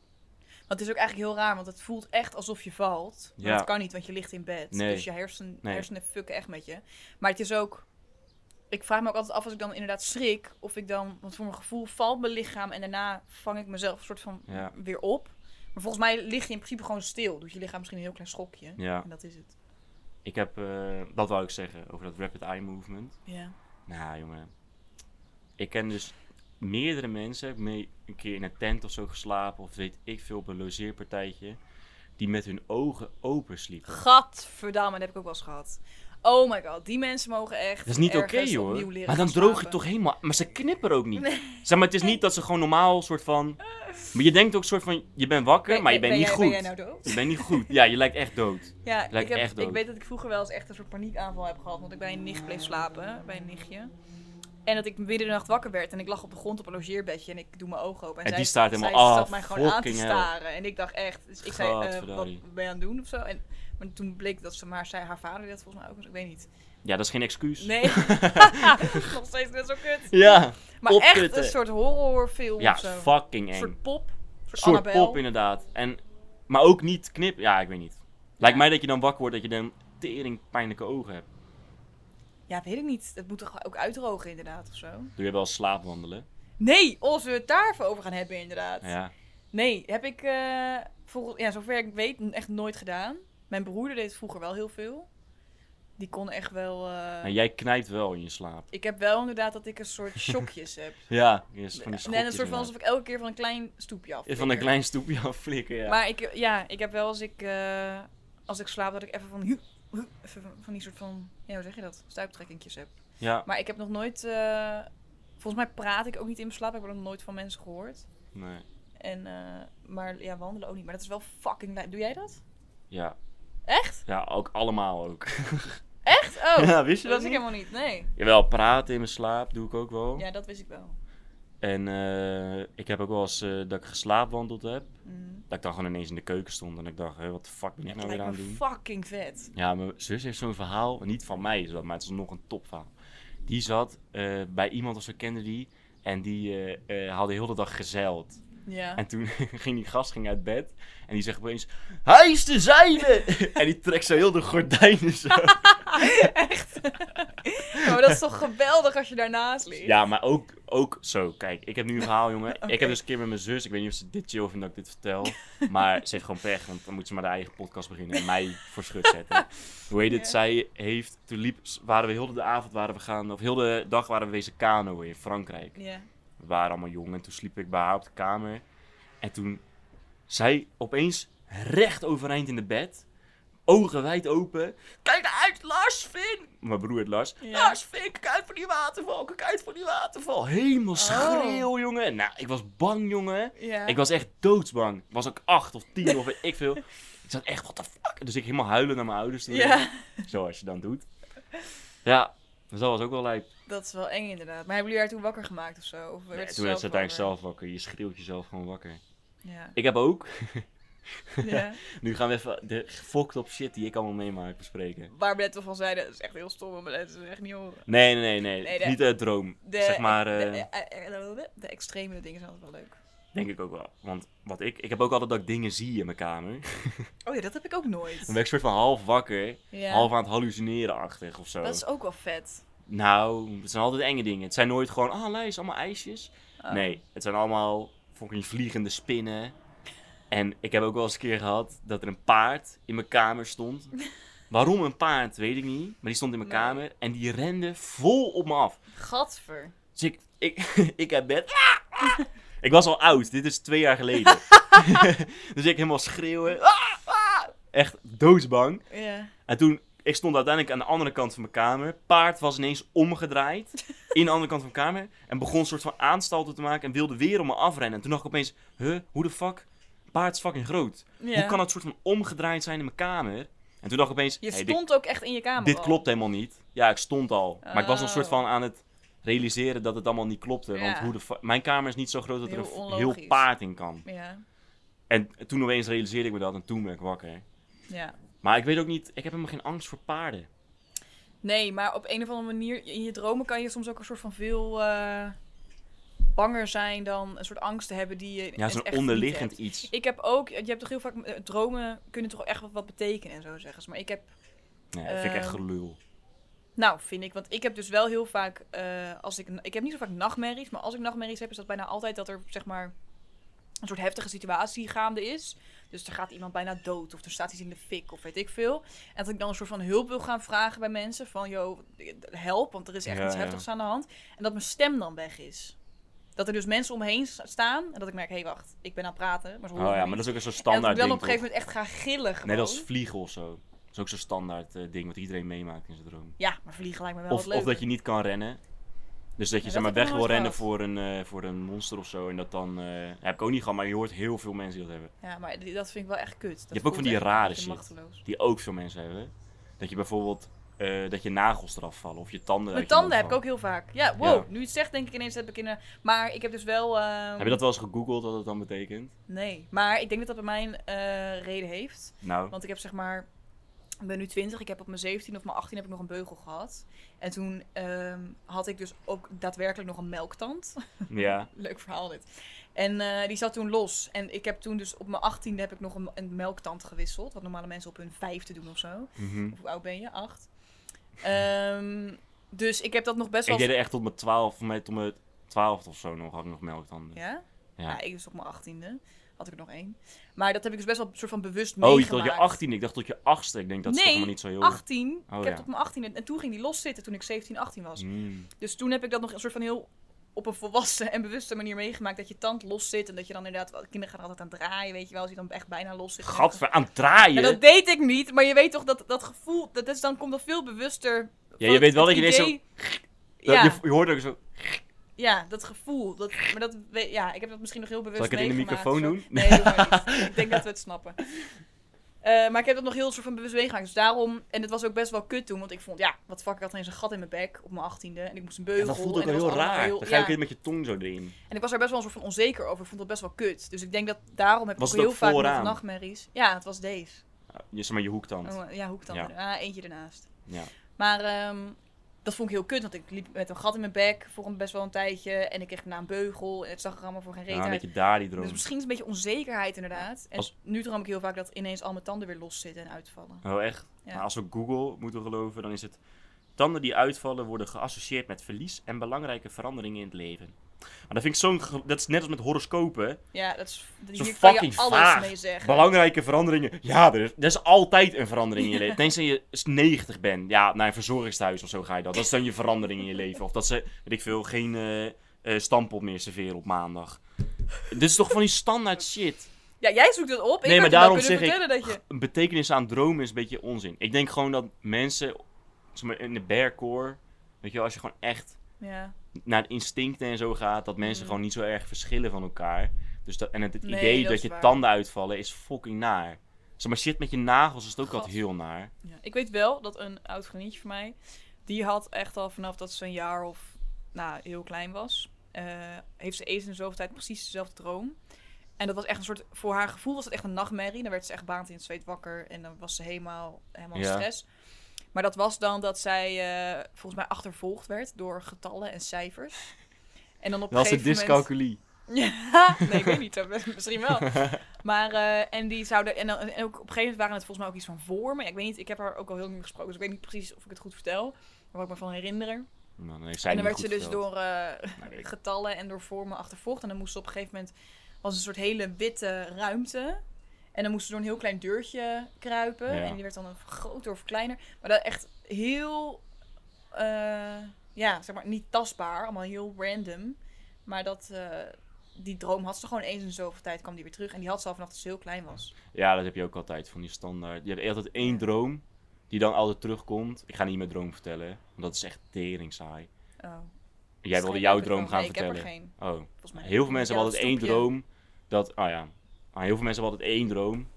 S1: Want het is ook eigenlijk heel raar, want het voelt echt alsof je valt. Maar
S2: Ja.
S1: dat kan niet, want je ligt in bed.
S2: Nee.
S1: Dus je hersen,
S2: Nee.
S1: hersenen fucken echt met je. Maar het is ook... Ik vraag me ook altijd af als ik dan inderdaad schrik, of ik dan... Want voor mijn gevoel valt mijn lichaam en daarna vang ik mezelf een soort van
S2: Ja.
S1: weer op. Maar volgens mij lig je in principe gewoon stil. Doet je lichaam misschien een heel klein schokje.
S2: Ja,
S1: En dat is het.
S2: ik heb, eh, dat wou ik zeggen over dat rapid eye movement.
S1: Ja.
S2: Nou, jongen. Ik ken dus meerdere mensen. Heb mee een keer in een tent of zo geslapen. Of weet ik veel, op een logeerpartijtje. Die met hun ogen open sliepen.
S1: Gadverdamme, dat heb ik ook wel eens gehad. Oh my god, die mensen mogen echt
S2: Dat is niet oké,
S1: ergens
S2: joh.
S1: opnieuw leren
S2: Maar dan
S1: gaan
S2: droog je
S1: slapen.
S2: toch helemaal... Maar ze knipperen ook niet. Zeg maar, het is niet dat ze gewoon normaal soort van... Maar je denkt ook soort van... Je bent wakker,
S1: Ben-
S2: maar je
S1: ben-
S2: bent niet
S1: jij-
S2: goed.
S1: Ben jij nou dood?
S2: Je bent niet goed. Ja, je lijkt echt dood.
S1: Ja, ik,
S2: Lijkt
S1: heb,
S2: echt dood.
S1: ik weet dat ik vroeger wel eens echt een soort paniekaanval heb gehad. Want ik bij een nicht bleef slapen, bij een nichtje. En dat ik midden in de nacht wakker werd en ik lag op de grond op een logeerbedje en ik doe mijn ogen open. En,
S2: En
S1: zij,
S2: die staat
S1: zij
S2: helemaal
S1: zat
S2: af.
S1: mij gewoon aan te
S2: Fucking hell.
S1: staren. En ik dacht echt, dus ik zei, eh,
S2: Gadverdarie.
S1: wat ben je aan het doen of zo? En, maar toen bleek dat ze maar zei, haar vader deed dat volgens mij ook, dus ik weet niet.
S2: Ja, dat is geen excuus.
S1: Nee, nog steeds net zo kut.
S2: Ja.
S1: Maar echt
S2: Opkutten.
S1: een soort horrorfilm
S2: Ja,
S1: of zo.
S2: fucking
S1: Een
S2: eng.
S1: soort pop, een soort,
S2: soort
S1: Annabelle.
S2: pop inderdaad. En, maar ook niet knip. Ja, ik weet niet. Lijkt
S1: Ja.
S2: mij dat je dan wakker wordt dat je dan tering pijnlijke ogen hebt.
S1: Ja, weet ik niet. Het moet toch ook uitdrogen inderdaad of zo?
S2: Doe je wel slaapwandelen?
S1: Nee, als we het daarvoor over gaan hebben inderdaad.
S2: Ja.
S1: Nee, heb ik eh volgens, ja, zover ik weet n- echt nooit gedaan. Mijn broer deed het vroeger wel heel veel. Die kon echt wel. eh,
S2: Nou, jij knijpt wel in je slaap.
S1: Ik heb wel inderdaad dat ik een soort shockjes heb.
S2: Ja. Je is van die
S1: Nee, een soort van
S2: schokjes
S1: alsof ik elke keer van een klein stoepje af.
S2: inderdaad. Van een klein stoepje aan flikken, ja.
S1: Maar ik, ja, ik heb wel als ik, eh, als ik slaap dat ik even van, hu- hu- even van- van die soort van, ja, hoe zeg je dat? Stuiptrekkingjes heb.
S2: Ja,
S1: Maar ik heb nog nooit, eh, volgens mij praat ik ook niet in mijn slaap. Ik heb nog nooit van mensen gehoord.
S2: nee.
S1: En, eh, maar ja, wandelen ook niet. Maar dat is wel fucking lijp. Doe jij dat?
S2: Ja.
S1: Echt?
S2: ja, ook allemaal ook.
S1: Echt? Oh,
S2: ja, wist je
S1: dat wist
S2: dat
S1: ik
S2: niet?
S1: helemaal niet. Nee.
S2: Jawel, praten in mijn slaap doe ik ook wel.
S1: Ja, dat wist ik wel.
S2: En eh, ik heb ook wel eens eh, dat ik geslaapwandeld heb.
S1: Mm.
S2: Dat ik dan gewoon ineens in de keuken stond en ik dacht, hé, wat de fuck ben ik
S1: Het
S2: nou weer
S1: lijkt
S2: aan
S1: me
S2: het doen?
S1: fucking vet.
S2: Ja, mijn zus heeft zo'n verhaal, niet van mij is dat, maar het is nog een topverhaal. Die zat eh, bij iemand of zo kende die en die eh, eh, had de hele dag gezeild.
S1: Ja.
S2: En toen ging die gast ging uit bed en die zegt opeens, hij is de zijde! en die trekt zo heel de gordijnen zo.
S1: Echt? Ja, maar Oh, dat is toch geweldig als je daarnaast ligt?
S2: ja, maar ook, ook zo, kijk, ik heb nu een verhaal jongen. Ik heb dus een keer met mijn zus, ik weet niet of ze dit chill vindt dat ik dit vertel, maar ze heeft gewoon pech, want dan moet ze maar haar eigen podcast beginnen en mij voor schut zetten. Hoe heet het?
S1: Ja.
S2: Zij heeft, toen liep, waren we heel de avond waren we gaan, of heel de dag waren we wezen kanoën in Frankrijk.
S1: Ja.
S2: We waren allemaal jong en toen sliep ik bij haar op de kamer. En toen zij opeens recht overeind in de bed, ogen wijd open. Kijk uit, Lars Vin! Mijn broer het Lars.
S1: Ja.
S2: Lars Vin, kijk uit voor die waterval, kijk uit voor die waterval. Helemaal schreeuw, jongen. Nou, ik was bang, jongen.
S1: Oh. Ja.
S2: Ik was echt doodsbang. Ik was ook acht of tien of weet ik veel. Ik zat echt, what the fuck? Dus ik helemaal huilen naar mijn ouders toe.
S1: ja,
S2: Zoals je dan doet. Ja, dus dat was ook wel lijp.
S1: dat is wel eng inderdaad. Maar hebben jullie haar toen wakker gemaakt of zo? Of werd
S2: Nee,
S1: ze
S2: toen werd ze
S1: zelf wakker?
S2: uiteindelijk zelf wakker. Je schreeuwt jezelf gewoon wakker.
S1: Ja.
S2: Ik heb ook
S1: Ja.
S2: Nu gaan we even de fucked up shit die ik allemaal meemaak bespreken.
S1: Waar Belet van zei, dat is echt heel stom. Maar dat is echt niet horen.
S2: Nee, nee, nee. nee.
S1: Nee, de-
S2: Niet de droom.
S1: De,
S2: zeg maar,
S1: de,
S2: eh,
S1: eh, eh, de extreme dingen zijn altijd wel leuk.
S2: denk ik ook wel. Want wat ik, ik heb ook altijd dat ik dingen zie in mijn kamer.
S1: Oh ja, dat heb ik ook nooit.
S2: Dan ben ik soort van half wakker,
S1: Ja.
S2: half aan het hallucineren-achtig of zo.
S1: Dat is ook wel vet.
S2: Nou, het zijn altijd enge dingen. Het zijn nooit gewoon, ah, lijst, allemaal ijsjes.
S1: Oh.
S2: Nee, het zijn allemaal fucking vliegende spinnen. En ik heb ook wel eens een keer gehad dat er een paard in mijn kamer stond. Waarom een paard, weet ik niet. Maar die stond in mijn
S1: Nee.
S2: kamer en die rende vol op me af.
S1: Gadver.
S2: Dus ik, ik, ik heb bed. Ah, ah. Ik was al oud, dit is twee jaar geleden. dus ik helemaal schreeuwen. Ah, ah. Echt doodsbang.
S1: Ja.
S2: En toen, ik stond uiteindelijk aan de andere kant van mijn kamer. Paard was ineens omgedraaid in de andere kant van mijn kamer. En begon een soort van aanstalten te maken en wilde weer om me afrennen. En toen dacht ik opeens, huh, hoe de fuck? Paard is fucking groot.
S1: ja.
S2: Hoe kan het soort van omgedraaid zijn in mijn kamer? En toen dacht ik opeens,
S1: Je
S2: hey, dit,
S1: stond ook echt in je kamer
S2: dit
S1: al.
S2: klopt helemaal niet. Ja, ik stond al. Maar ik was al een soort
S1: Oh.
S2: van aan het realiseren dat het allemaal niet klopte. Want
S1: Ja.
S2: hoe de fu- mijn kamer is niet zo groot dat er
S1: Heel
S2: een f- heel
S1: onlogisch.
S2: paard in kan.
S1: Ja.
S2: En toen opeens realiseerde ik me dat en toen ben ik wakker.
S1: ja.
S2: Maar ik weet ook niet, ik heb helemaal geen angst voor paarden.
S1: Nee, maar op een of andere manier, in je dromen kan je soms ook een soort van veel eh, banger zijn dan een soort angst te hebben die je. in
S2: Ja,
S1: het
S2: zo'n
S1: echt niet
S2: onderliggend
S1: hebt.
S2: iets.
S1: Ik heb ook, je hebt toch heel vaak, eh, dromen kunnen toch echt wat, wat betekenen en zo zeggen ze. Maar ik heb,
S2: Nee, dat vind ik echt
S1: Ehm,
S2: gelul.
S1: nou vind ik, want ik heb dus wel heel vaak, eh, als ik, ik heb niet zo vaak nachtmerries, maar als ik nachtmerries heb, is dat bijna altijd dat er zeg maar een soort heftige situatie gaande is. Dus er gaat iemand bijna dood of er staat iets in de fik of weet ik veel. En dat ik dan een soort van hulp wil gaan vragen bij mensen van, yo, help, want er is echt
S2: Ja,
S1: iets
S2: ja.
S1: heftigs aan de hand. En dat mijn stem dan weg is. Dat er dus mensen omheen s- staan en dat ik merk, hé hey, wacht, ik ben aan het praten, maar ze
S2: Oh
S1: horen me
S2: ja,
S1: niet.
S2: maar dat is ook een
S1: En
S2: zo'n
S1: dat
S2: standaard
S1: ik dan
S2: ding.
S1: op een gegeven
S2: toch?
S1: moment echt ga gillen gewoon.
S2: Net als vliegen of zo. Dat is ook zo'n standaard eh, ding wat iedereen meemaakt in zijn droom.
S1: Ja, maar vliegen lijkt me wel
S2: Of,
S1: wat leuk.
S2: of dat je niet kan rennen. Dus dat je
S1: Ja, dat
S2: zeg maar
S1: heb
S2: weg
S1: ik
S2: wil
S1: nog nooit
S2: rennen voor een, eh, voor een monster of zo. En dat dan. eh, heb ik ook niet gehad, maar je hoort heel veel mensen die dat hebben.
S1: Ja, maar die- dat vind ik wel echt kut. Dat
S2: Je hebt ook van
S1: voelt
S2: die
S1: echt een
S2: rare
S1: beetje
S2: shit.
S1: Machteloos.
S2: Die ook veel mensen hebben. Dat je bijvoorbeeld. eh, dat je nagels eraf vallen of je tanden.
S1: Mijn
S2: uit je mond
S1: tanden heb ik ook
S2: vallen.
S1: heel vaak. Ja, wow.
S2: Ja.
S1: Nu je het zegt, denk ik ineens dat ik in een... Maar ik heb dus wel... ehm,
S2: Heb je dat wel eens gegoogeld wat dat dan betekent?
S1: Nee. Maar ik denk dat dat bij mij een eh, reden heeft.
S2: Nou,
S1: Want ik heb zeg maar... Ik ben nu 20. Ik heb op mijn 17 of mijn 18 heb ik nog een beugel gehad. En toen ehm, had ik dus ook daadwerkelijk nog een melktand.
S2: ja.
S1: Leuk verhaal dit. En eh, die zat toen los. En ik heb toen dus op mijn 18e heb ik nog een, een melktand gewisseld. Wat normale mensen op hun vijfde doen of zo.
S2: mhm.
S1: Of hoe oud ben je? Acht. Ehm, dus ik heb dat nog best wel...
S2: Ik deed er echt tot mijn 12, met tot mijn 12 of zo nog, had ik nog melktanden.
S1: Ja?
S2: Ja.
S1: Ja, ik dus op mijn 18e had ik er nog één. Maar dat heb ik dus best wel soort van bewust
S2: Oh, je- tot
S1: meegemaakt.
S2: je 18. Ik dacht tot je 8ste. Ik denk dat is toch
S1: Nee,
S2: helemaal niet zo heel.
S1: 18?
S2: Oh,
S1: ik heb
S2: ja.
S1: het op mijn 18 en toen ging die loszitten toen ik 17, 18 was.
S2: Mm.
S1: Dus toen heb ik dat nog een soort van heel op een volwassen en bewuste manier meegemaakt. Dat je tand los zit en dat je dan inderdaad... wel- Kinderen gaan er altijd aan draaien, weet je wel. Als je dan echt bijna los zit.
S2: Gadver, aan het
S1: Ja,
S2: draaien.
S1: dat deed ik niet, maar je weet toch dat dat gevoel, dat is, dan komt dat veel bewuster.
S2: Ja,
S1: van
S2: je weet wel
S1: het
S2: dat je ineens
S1: idee-
S2: Dat-
S1: Ja,
S2: je, je hoort ook zo.
S1: ja, dat gevoel. Dat, maar dat, we- ja, ik heb dat misschien nog heel bewust
S2: Zal ik het in de
S1: meegemaakt,
S2: microfoon
S1: zo.
S2: doen?
S1: Nee, doe maar niet. ik denk dat we het snappen. Eh, maar ik heb dat nog heel soort van bewust meegemaakt. Dus daarom, en het was ook best wel kut toen, want ik vond, ja, wat fuck, ik had ineens een gat in mijn bek op mijn achttiende. En ik moest een beugel.
S2: Ja, dat voelt ook
S1: en
S2: wel
S1: dat
S2: heel
S1: was allemaal
S2: raar. Dan ga
S1: ja.
S2: je ook weer met je tong zo erin.
S1: En ik was er best wel een soort van onzeker over. Ik vond dat best wel kut. Dus ik denk dat daarom heb
S2: Was
S1: ik
S2: het
S1: heel
S2: ook
S1: vaak nog
S2: vooraan?
S1: nachtmerries. Ja, het was deze.
S2: Je, zeg maar je hoektand.
S1: Oh, ja, hoek dan.
S2: Ja.
S1: Ah, eentje ernaast.
S2: Ja.
S1: Maar ehm, dat vond ik heel kut, want ik liep met een gat in mijn bek voor een best wel een tijdje. En ik kreeg na een beugel en het zag er allemaal voor geen reet
S2: Ja, een
S1: uit.
S2: beetje daar die droom.
S1: Dus misschien is het een beetje onzekerheid inderdaad. En
S2: Als-
S1: nu droom ik heel vaak dat ineens al mijn tanden weer loszitten en uitvallen.
S2: Oh, echt?
S1: Ja.
S2: Maar als we Google moeten geloven, dan is het. Tanden die uitvallen worden geassocieerd met verlies en belangrijke veranderingen in het leven. Maar dat vind ik zo'n. ge- Dat is net als met horoscopen.
S1: Ja, dat is,
S2: Zo
S1: hier kan je
S2: fucking
S1: alles
S2: vaag.
S1: mee zeggen.
S2: Belangrijke veranderingen. Ja, er is, er is altijd een verandering in je leven. Tenzij je 90 bent. Ja, naar een verzorgingstehuis of zo ga je dat. Dat is dan je verandering in je leven. Of dat ze, weet ik veel, geen eh eh, stamppot meer serveren op maandag. Dit is toch van die standaard shit.
S1: Ja, jij zoekt dat op. Ik
S2: nee,
S1: had je wel
S2: maar daarom
S1: kunnen
S2: zeg ik,
S1: vertellen dat je...
S2: een betekenis aan dromen is een beetje onzin. Ik denk gewoon dat mensen, zeg maar, in de bearcore, weet je wel, als je gewoon echt
S1: Ja.
S2: naar de instincten en zo gaat, dat mensen
S1: Mm.
S2: gewoon niet zo erg verschillen van elkaar. Dus dat, en het, het
S1: Nee,
S2: idee
S1: dat
S2: dat,
S1: is
S2: je
S1: waar.
S2: tanden uitvallen is fucking naar. Zeg maar shit met je nagels is het ook altijd
S1: Gad.
S2: heel naar.
S1: Ja, ik weet wel dat een oud vriendinnetje van mij, die had echt al vanaf dat ze een jaar of nou, heel klein was, eh, heeft ze eens in de zoveel tijd precies dezelfde droom. En dat was echt een soort, voor haar gevoel was het echt een nachtmerrie. Dan werd ze echt baant in het zweet wakker en dan was ze helemaal, helemaal in
S2: Ja.
S1: stress. Maar dat was dan dat zij eh, volgens mij achtervolgd werd door getallen en cijfers. En dan op een
S2: Dat was de
S1: gegeven moment...
S2: dyscalculie.
S1: Ja, nee, ik weet niet. dat- Misschien wel. Maar, eh, en die zouden, en, dan- en ook op een gegeven moment waren het volgens mij ook iets van vormen. Ja, ik weet niet, ik heb haar ook al heel lang niet gesproken, dus ik weet niet precies of ik het goed vertel. Maar wat ik me van herinner.
S2: Nou, dan heeft zij
S1: en dan
S2: niet
S1: werd ze
S2: goed
S1: dus
S2: verteld.
S1: door eh,
S2: Nou, weet ik.
S1: getallen en door vormen achtervolgd. En dan moest ze op een gegeven moment, was een soort hele witte ruimte. En dan moest ze door een heel klein deurtje kruipen.
S2: Ja.
S1: En die werd dan een groter of kleiner. Maar dat echt heel, eh, ja, zeg maar niet tastbaar. Allemaal heel random. Maar dat, eh, die droom had ze gewoon eens in zoveel tijd kwam die weer terug. En die had ze al vanaf dat ze heel klein was.
S2: Ja, dat heb je ook altijd van die standaard. Je hebt altijd één droom die dan altijd terugkomt. Ik ga niet mijn droom vertellen, want dat is echt tering saai.
S1: Oh.
S2: Jij wilde jouw droom gaan vertellen.
S1: Ik heb er geen,
S2: Oh,
S1: volgens mij.
S2: heel veel mensen
S1: Ja,
S2: hebben altijd
S1: dat
S2: één
S1: stopje.
S2: droom. Dat, ah ja, Ah, heel veel mensen hebben altijd één droom.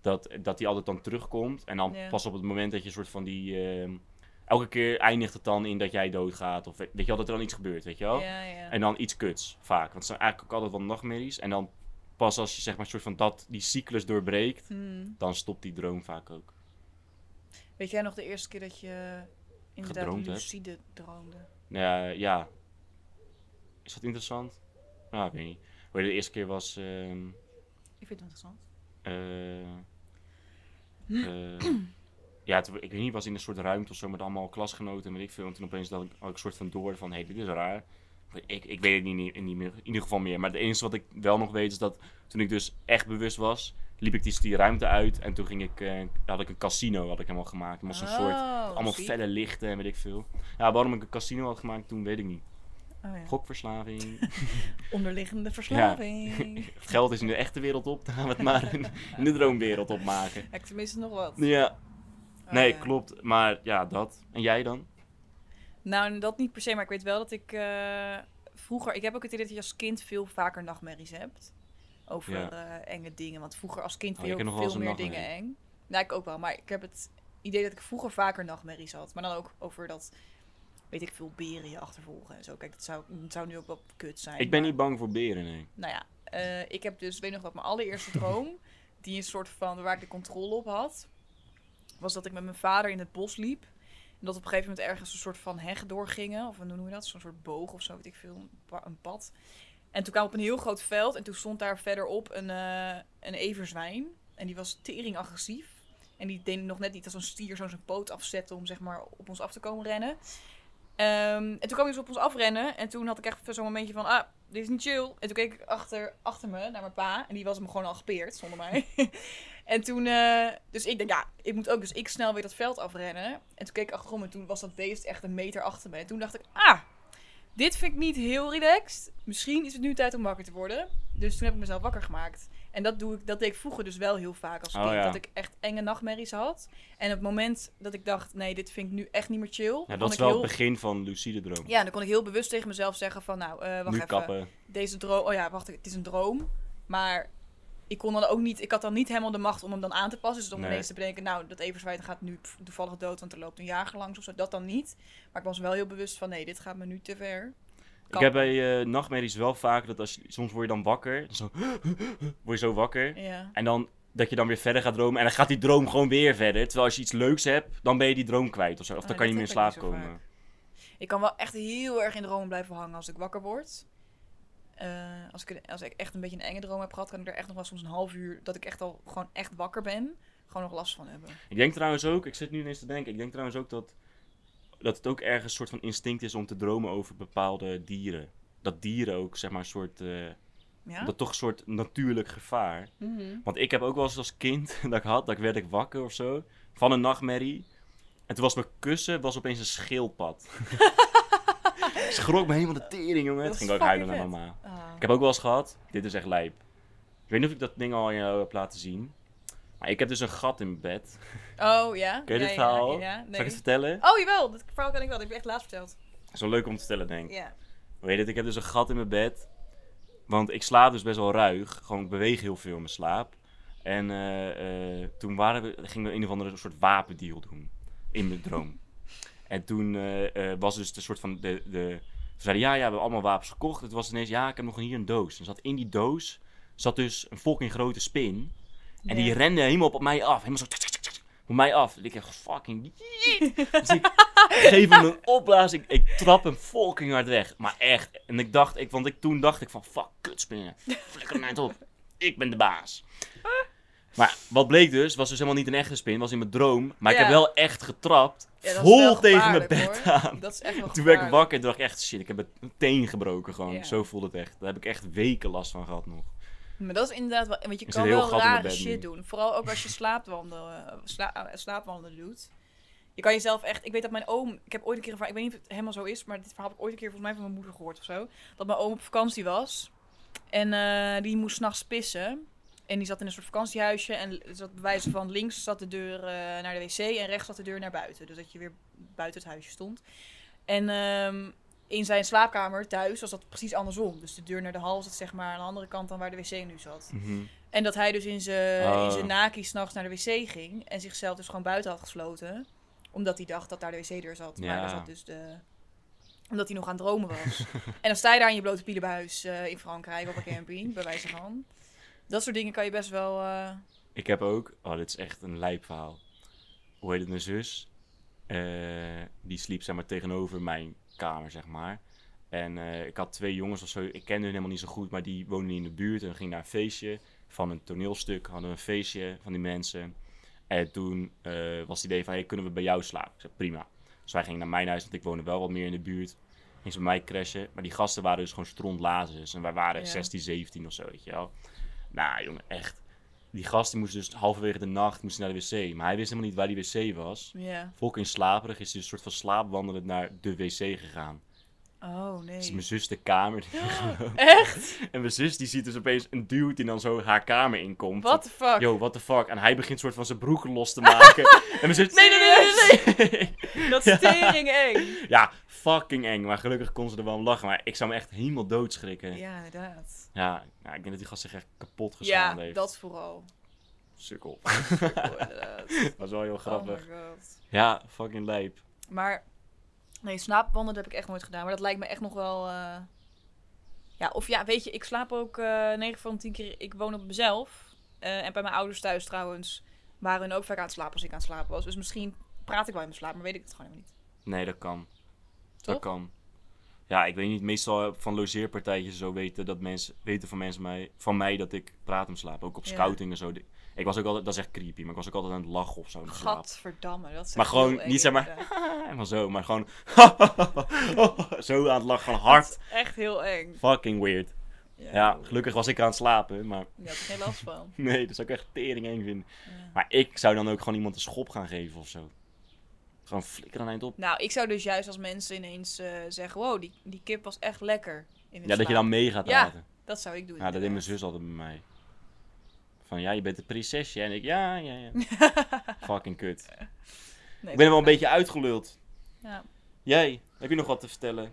S2: Dat, dat die altijd dan terugkomt. En dan
S1: Ja.
S2: pas op het moment dat je soort van die. ehm, elke keer eindigt het dan in dat jij doodgaat. Of weet weet je wel, dat er dan iets gebeurt, weet je wel?
S1: Ja, ja.
S2: En dan iets kuts, vaak. Want het zijn eigenlijk ook altijd wel nachtmerries. En dan pas als je zeg maar soort van dat, die cyclus doorbreekt,
S1: Hmm.
S2: dan stopt die droom vaak ook.
S1: Weet jij nog de eerste keer dat je inderdaad
S2: Gedroomd hebt?
S1: lucide droomde?
S2: Ja, ja. Is dat interessant? Nou, ik weet niet. Hoe de eerste keer was. ehm,
S1: Ik vind het interessant.
S2: eh, eh, ja, het- ik weet niet, was in een soort ruimte of zo met allemaal klasgenoten en weet ik veel. En toen opeens had ik, had ik een soort van door van, hé, hey, dit is raar. Ik, ik weet het niet, niet, niet meer, in ieder geval meer. Maar het enige wat ik wel nog weet is dat toen ik dus echt bewust was, liep ik die, die ruimte uit. En toen ging ik, eh, had ik een casino had ik helemaal gemaakt. Het was een soort,
S1: Oh,
S2: allemaal felle lichten en weet ik veel. Ja, waarom ik een casino had gemaakt toen, weet ik niet. Gokverslaving.
S1: Oh, Onderliggende verslaving.
S2: het geld is in de echte wereld op, dan gaan we het maar in, in de droomwereld opmaken.
S1: Ja, ik tenminste nog wat.
S2: Ja,
S1: Oh,
S2: nee,
S1: ja.
S2: klopt. Maar ja, dat. En jij dan?
S1: Nou, dat niet per se, maar ik weet wel dat ik eh, vroeger... Ik heb ook het idee dat je als kind veel vaker nachtmerries hebt. Over
S2: Ja.
S1: eh, enge dingen. Want vroeger als kind
S2: Oh,
S1: vind
S2: ik
S1: je
S2: heb
S1: ook
S2: nog wel
S1: veel meer
S2: eens een
S1: dingen eng. Nou, ik ook wel. Maar ik heb het idee dat ik vroeger vaker nachtmerries had. Maar dan ook over dat, weet ik veel, beren je achtervolgen en zo. Kijk, dat zou, dat zou nu ook wel kut zijn.
S2: Ik ben
S1: maar-
S2: niet bang voor beren, nee.
S1: Nou ja, eh, ik heb dus, weet nog dat mijn allereerste droom, die een soort van, waar ik de controle op had, was dat ik met mijn vader in het bos liep. En dat op een gegeven moment ergens een soort van heg doorgingen, of hoe noem je dat? Zo'n soort boog of zo, weet ik veel, een pa- een pad. En toen kwamen we op een heel groot veld en toen stond daar verderop een, eh, een everzwijn. En die was tering agressief. En die deed nog net niet als een stier zo zijn poot afzetten om zeg maar op ons af te komen rennen. Ehm, en toen kwam hij dus op ons afrennen. En toen had ik echt zo'n momentje van, ah, dit is niet chill. En toen keek ik achter, achter me naar mijn pa. En die was me gewoon al gepeerd, zonder mij. en toen, eh, dus ik denk, ja, ik moet ook. Dus ik snel weer dat veld afrennen. En toen keek ik achterom en toen was dat beest echt een meter achter me. En toen dacht ik, ah, dit vind ik niet heel relaxed. Misschien is het nu tijd om wakker te worden. Dus toen heb ik mezelf wakker gemaakt. En dat, doe ik, dat deed ik vroeger dus wel heel vaak als
S2: Oh,
S1: kind.
S2: ja.
S1: Dat ik echt enge nachtmerries had. En op het moment dat ik dacht, nee, dit vind ik nu echt niet meer chill.
S2: Ja,
S1: kon
S2: dat is
S1: ik
S2: wel
S1: heel-
S2: het begin van lucide droom.
S1: ja, dan kon ik heel bewust tegen mezelf zeggen van, nou, eh, wacht
S2: nu
S1: even.
S2: kappen.
S1: Deze droom, oh ja, wacht, het is een droom. Maar ik kon dan ook niet, ik had dan niet helemaal de macht om hem dan aan te passen. Dus om
S2: Nee.
S1: ineens te bedenken, nou, dat everzwijt gaat nu pff, toevallig dood, want er loopt een jager langs of zo. Dat dan niet. Maar ik was wel heel bewust van, nee, dit gaat me nu te ver.
S2: Ik heb bij eh, nachtmerries wel vaak dat als je, soms word je dan wakker. dan Zo, word je zo wakker.
S1: Ja.
S2: En dan dat je dan weer verder gaat dromen. En dan gaat die droom gewoon weer verder. Terwijl als je iets leuks hebt, dan ben je die droom kwijt of zo. Of
S1: Ah,
S2: dan kan je
S1: dat
S2: niet meer in
S1: heb ik
S2: slaap
S1: niet zo
S2: komen.
S1: Ik kan wel echt heel erg in dromen blijven hangen als ik wakker word. Eh, als, ik, als ik echt een beetje een enge droom heb gehad, kan ik er echt nog wel soms een half uur, dat ik echt al gewoon echt wakker ben, gewoon nog last van hebben.
S2: Ik denk trouwens ook, ik zit nu ineens te denken, ik denk trouwens ook dat, dat het ook ergens een soort van instinct is om te dromen over bepaalde dieren. Dat dieren ook, zeg maar, een soort, eh,
S1: Ja?
S2: dat toch een soort natuurlijk gevaar.
S1: Mhm.
S2: Want ik heb ook wel eens als kind, dat ik had, dat ik werd ik wakker of zo, van een nachtmerrie. En toen was mijn kussen was opeens een schildpad. Ik Schrok me helemaal de tering, jongen.
S1: Dat
S2: Toen
S1: is
S2: ging ik ook huilen naar
S1: fucking
S2: mama.
S1: Ah.
S2: Ik heb ook wel eens gehad, dit is echt lijp. Ik weet niet of ik dat ding al aan jou heb laten zien. Maar ik heb dus een gat in mijn bed.
S1: Oh ja.
S2: Ken je
S1: ja,
S2: dit
S1: ja,
S2: verhaal?
S1: Ja, nee.
S2: Zal ik het vertellen?
S1: Oh jawel, dat verhaal kan ik wel. Dat heb je echt laatst verteld.
S2: Zo leuk om te vertellen, denk ik.
S1: Ja.
S2: Weet je het, ik heb dus een gat in mijn bed. Want ik slaap dus best wel ruig. Gewoon, ik beweeg heel veel in mijn slaap. En eh, eh, toen waren we, gingen we een of andere soort wapendeal doen. In mijn droom. En toen eh, eh, was dus de soort van... De, de, ze zeiden, ja, ja, we hebben allemaal wapens gekocht. Het was ineens, ja, ik heb nog hier een doos. En zat in die doos zat dus een fucking grote spin. En die rende helemaal op mij af. Helemaal zo. tsk, tsk, tsk, tsk, Op mij af. Ik echt fucking. jeet. Dus ik geef hem een opblaas. Ik, ik trap hem fucking hard weg. Maar echt. En ik dacht, ik, want ik, toen dacht ik van fuck, kutspinnen. Flikker mij op. Ik ben de baas. Maar wat bleek dus, was dus helemaal niet een echte spin. Was in mijn droom. Maar ik
S1: Ja.
S2: heb wel echt getrapt.
S1: Ja, dat is wel
S2: vol tegen mijn
S1: gevaarlijk,
S2: bed
S1: hoor.
S2: aan.
S1: Dat is echt wel
S2: Toen werd ik
S1: gevaarlijk.
S2: wakker en dacht ik echt, shit, ik heb het teen gebroken gewoon.
S1: Ja.
S2: Zo voelde het echt. Daar heb ik echt weken last van gehad nog.
S1: Maar dat is inderdaad wel... Want je
S2: Ik
S1: kan
S2: zit heel
S1: wel
S2: gat in mijn
S1: rare
S2: bed nu.
S1: shit doen. Vooral ook als je slaapwandelen, eh, sla- eh, slaapwandelen doet. Je kan jezelf echt... Ik weet dat mijn oom... Ik heb ooit een keer... een verhaal- Ik weet niet of het helemaal zo is, maar dit verhaal heb ik ooit een keer volgens mij van mijn moeder gehoord of zo. Dat mijn oom op vakantie was. En eh, die moest s'nachts pissen. En die zat in een soort vakantiehuisje. En er zat bij wijze van links zat de deur eh, naar de wc en rechts zat de deur naar buiten. Dus dat je weer buiten het huisje stond. En ehm, in zijn slaapkamer thuis was dat precies andersom. Dus de deur naar de hal zat zeg maar aan de andere kant dan waar de wc nu zat. En dat hij dus in zijn
S2: Oh.
S1: in zijn naki s'nachts naar de wc ging. En zichzelf dus gewoon buiten had gesloten. Omdat hij dacht dat daar de wc-deur zat. Maar
S2: Ja.
S1: daar zat dus de... Omdat hij nog aan het dromen was. en dan sta je daar in je blote pielen bij huis eh, in Frankrijk op een camping. bij wijze van. Dat soort dingen kan je best wel... eh,
S2: Ik heb ook, oh dit is echt een lijp verhaal. Hoe heet het, mijn zus? eh, die sliep zeg maar tegenover mijn kamer, zeg maar. En eh, ik had twee jongens of zo, ik kende hun helemaal niet zo goed, maar die woonden in de buurt en gingen naar een feestje van een toneelstuk. Hadden we een feestje van die mensen. En toen eh, was het idee van, hey, kunnen we bij jou slapen? Ik zei, prima. Dus wij gingen naar mijn huis, want ik woonde wel wat meer in de buurt. Gingen ze bij mij crashen. Maar die gasten waren dus gewoon strontlazers. En wij waren
S1: Ja.
S2: 16, 17 of zo, weet je wel. Nou, jongen, echt. Die gast die moest dus halverwege de nacht moest hij naar de wc. Maar hij wist helemaal niet waar die wc was.
S1: Ja.
S2: Fucking slaperig is hij een soort van slaapwandelend naar de wc gegaan.
S1: Oh, nee.
S2: Dus mijn zus de kamer. die-
S1: Echt?
S2: En mijn zus die ziet dus opeens een dude die dan zo haar kamer inkomt.
S1: What the fuck?
S2: Yo, what the fuck? En hij begint soort van zijn broek los te maken. en mijn zus...
S1: Nee, nee, nee,
S2: nee.
S1: Dat
S2: Ja.
S1: is tering eng.
S2: Ja, fucking eng. Maar gelukkig kon ze er wel om lachen. Maar ik zou me echt helemaal doodschrikken. Ja,
S1: Ja, inderdaad.
S2: ja, nou, ik denk dat die gast zich echt kapot
S1: Ja,
S2: geslaan heeft.
S1: dat vooral.
S2: Sukkel.
S1: Oh, inderdaad.
S2: Dat was wel heel grappig.
S1: Oh my god.
S2: ja, fucking lijp.
S1: Maar nee, slaapwandelen heb ik echt nooit gedaan. Maar dat lijkt me echt nog wel. eh, Ja, of ja, weet je, ik slaap ook eh 9 van de 10 keer. Ik woon op mezelf. Eh, en bij mijn ouders thuis trouwens waren hun ook vaak aan het slapen als ik aan het slapen was. Dus misschien praat ik wel in mijn slaap, maar weet ik het gewoon helemaal niet.
S2: Nee, dat kan.
S1: Toch?
S2: Dat kan. Ja, ik weet niet. Meestal heb ik van logeerpartijtjes zo weten dat mensen weten van mensen mij, van mij dat ik praat om slaap. Ook op
S1: Ja.
S2: scouting en zo. Ik was ook altijd, dat is echt creepy, maar ik was ook altijd aan het lachen of zo. in mijn slaap.
S1: Gadverdamme, dat is
S2: Maar
S1: echt
S2: gewoon
S1: heel eng,
S2: niet, zeg maar,
S1: inderdaad.
S2: Helemaal zo, maar gewoon zo aan het lachen van
S1: Dat
S2: hard.
S1: is echt heel eng.
S2: Fucking weird. Ja, gelukkig was ik aan het slapen, maar
S1: Je had er geen last van.
S2: nee, dat zou ik echt tering eng vinden.
S1: Ja.
S2: Maar ik zou dan ook gewoon iemand een schop gaan geven of zo. Gewoon flikker aan eind op.
S1: Nou, ik zou dus juist als mensen ineens eh, zeggen: wow, die, die kip was echt lekker. In hun
S2: Ja, dat je
S1: slaap."
S2: dan mee gaat
S1: Ja.
S2: praten.
S1: Dat zou ik doen.
S2: Ja, dat deed mijn
S1: inderdaad.
S2: zus altijd bij mij. Van ja, je bent een prinsesje. En ik, ja, ja, ja. Fucking kut.
S1: Nee,
S2: Ik ben wel een beetje uitgeluld.
S1: Ja.
S2: Jij, heb je nog wat te vertellen?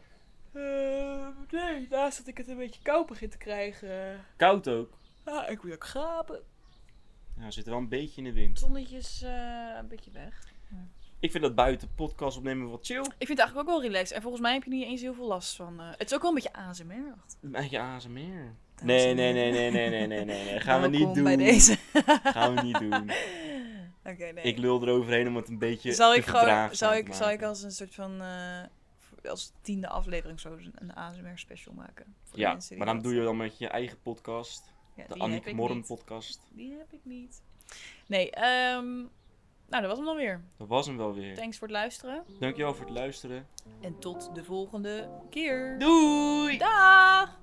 S1: Ehm, nee, naast dat ik het een beetje koud begin te krijgen.
S2: Koud ook.
S1: Ah, ik wil ook grapen.
S2: Ja, we zitten wel een beetje in de wind.
S1: Zonnetjes eh, een beetje weg.
S2: Ik vind dat buiten podcast opnemen wat chill.
S1: Ik vind het eigenlijk ook wel relaxed. En volgens mij heb je niet eens heel veel last van. eh, het is ook wel een beetje ASMR.
S2: Een beetje ASMR. Nee, nee, nee, nee, nee, nee, nee, nee. nee. Gaan we niet doen.
S1: bij deze.
S2: Gaan we niet doen.
S1: Oké, nee.
S2: Ik lul eroverheen om het een beetje
S1: zal
S2: te
S1: ik gewoon,
S2: verdraagzaam
S1: zal
S2: te
S1: ik, zal ik
S2: maken.
S1: als een soort van, eh, voor- als tiende aflevering zo een ASMR special maken. Voor de
S2: Ja,
S1: mensen die
S2: maar dan
S1: dat-
S2: doe je dan met je eigen podcast.
S1: Ja,
S2: De
S1: die heb
S2: Annick
S1: ik
S2: Morren
S1: niet.
S2: podcast.
S1: Die heb ik niet. Nee, ehm, nou dat was hem dan weer.
S2: Dat was hem wel weer.
S1: Thanks voor het luisteren.
S2: Dankjewel voor het luisteren.
S1: En tot de volgende keer.
S2: Doei!
S1: Dag!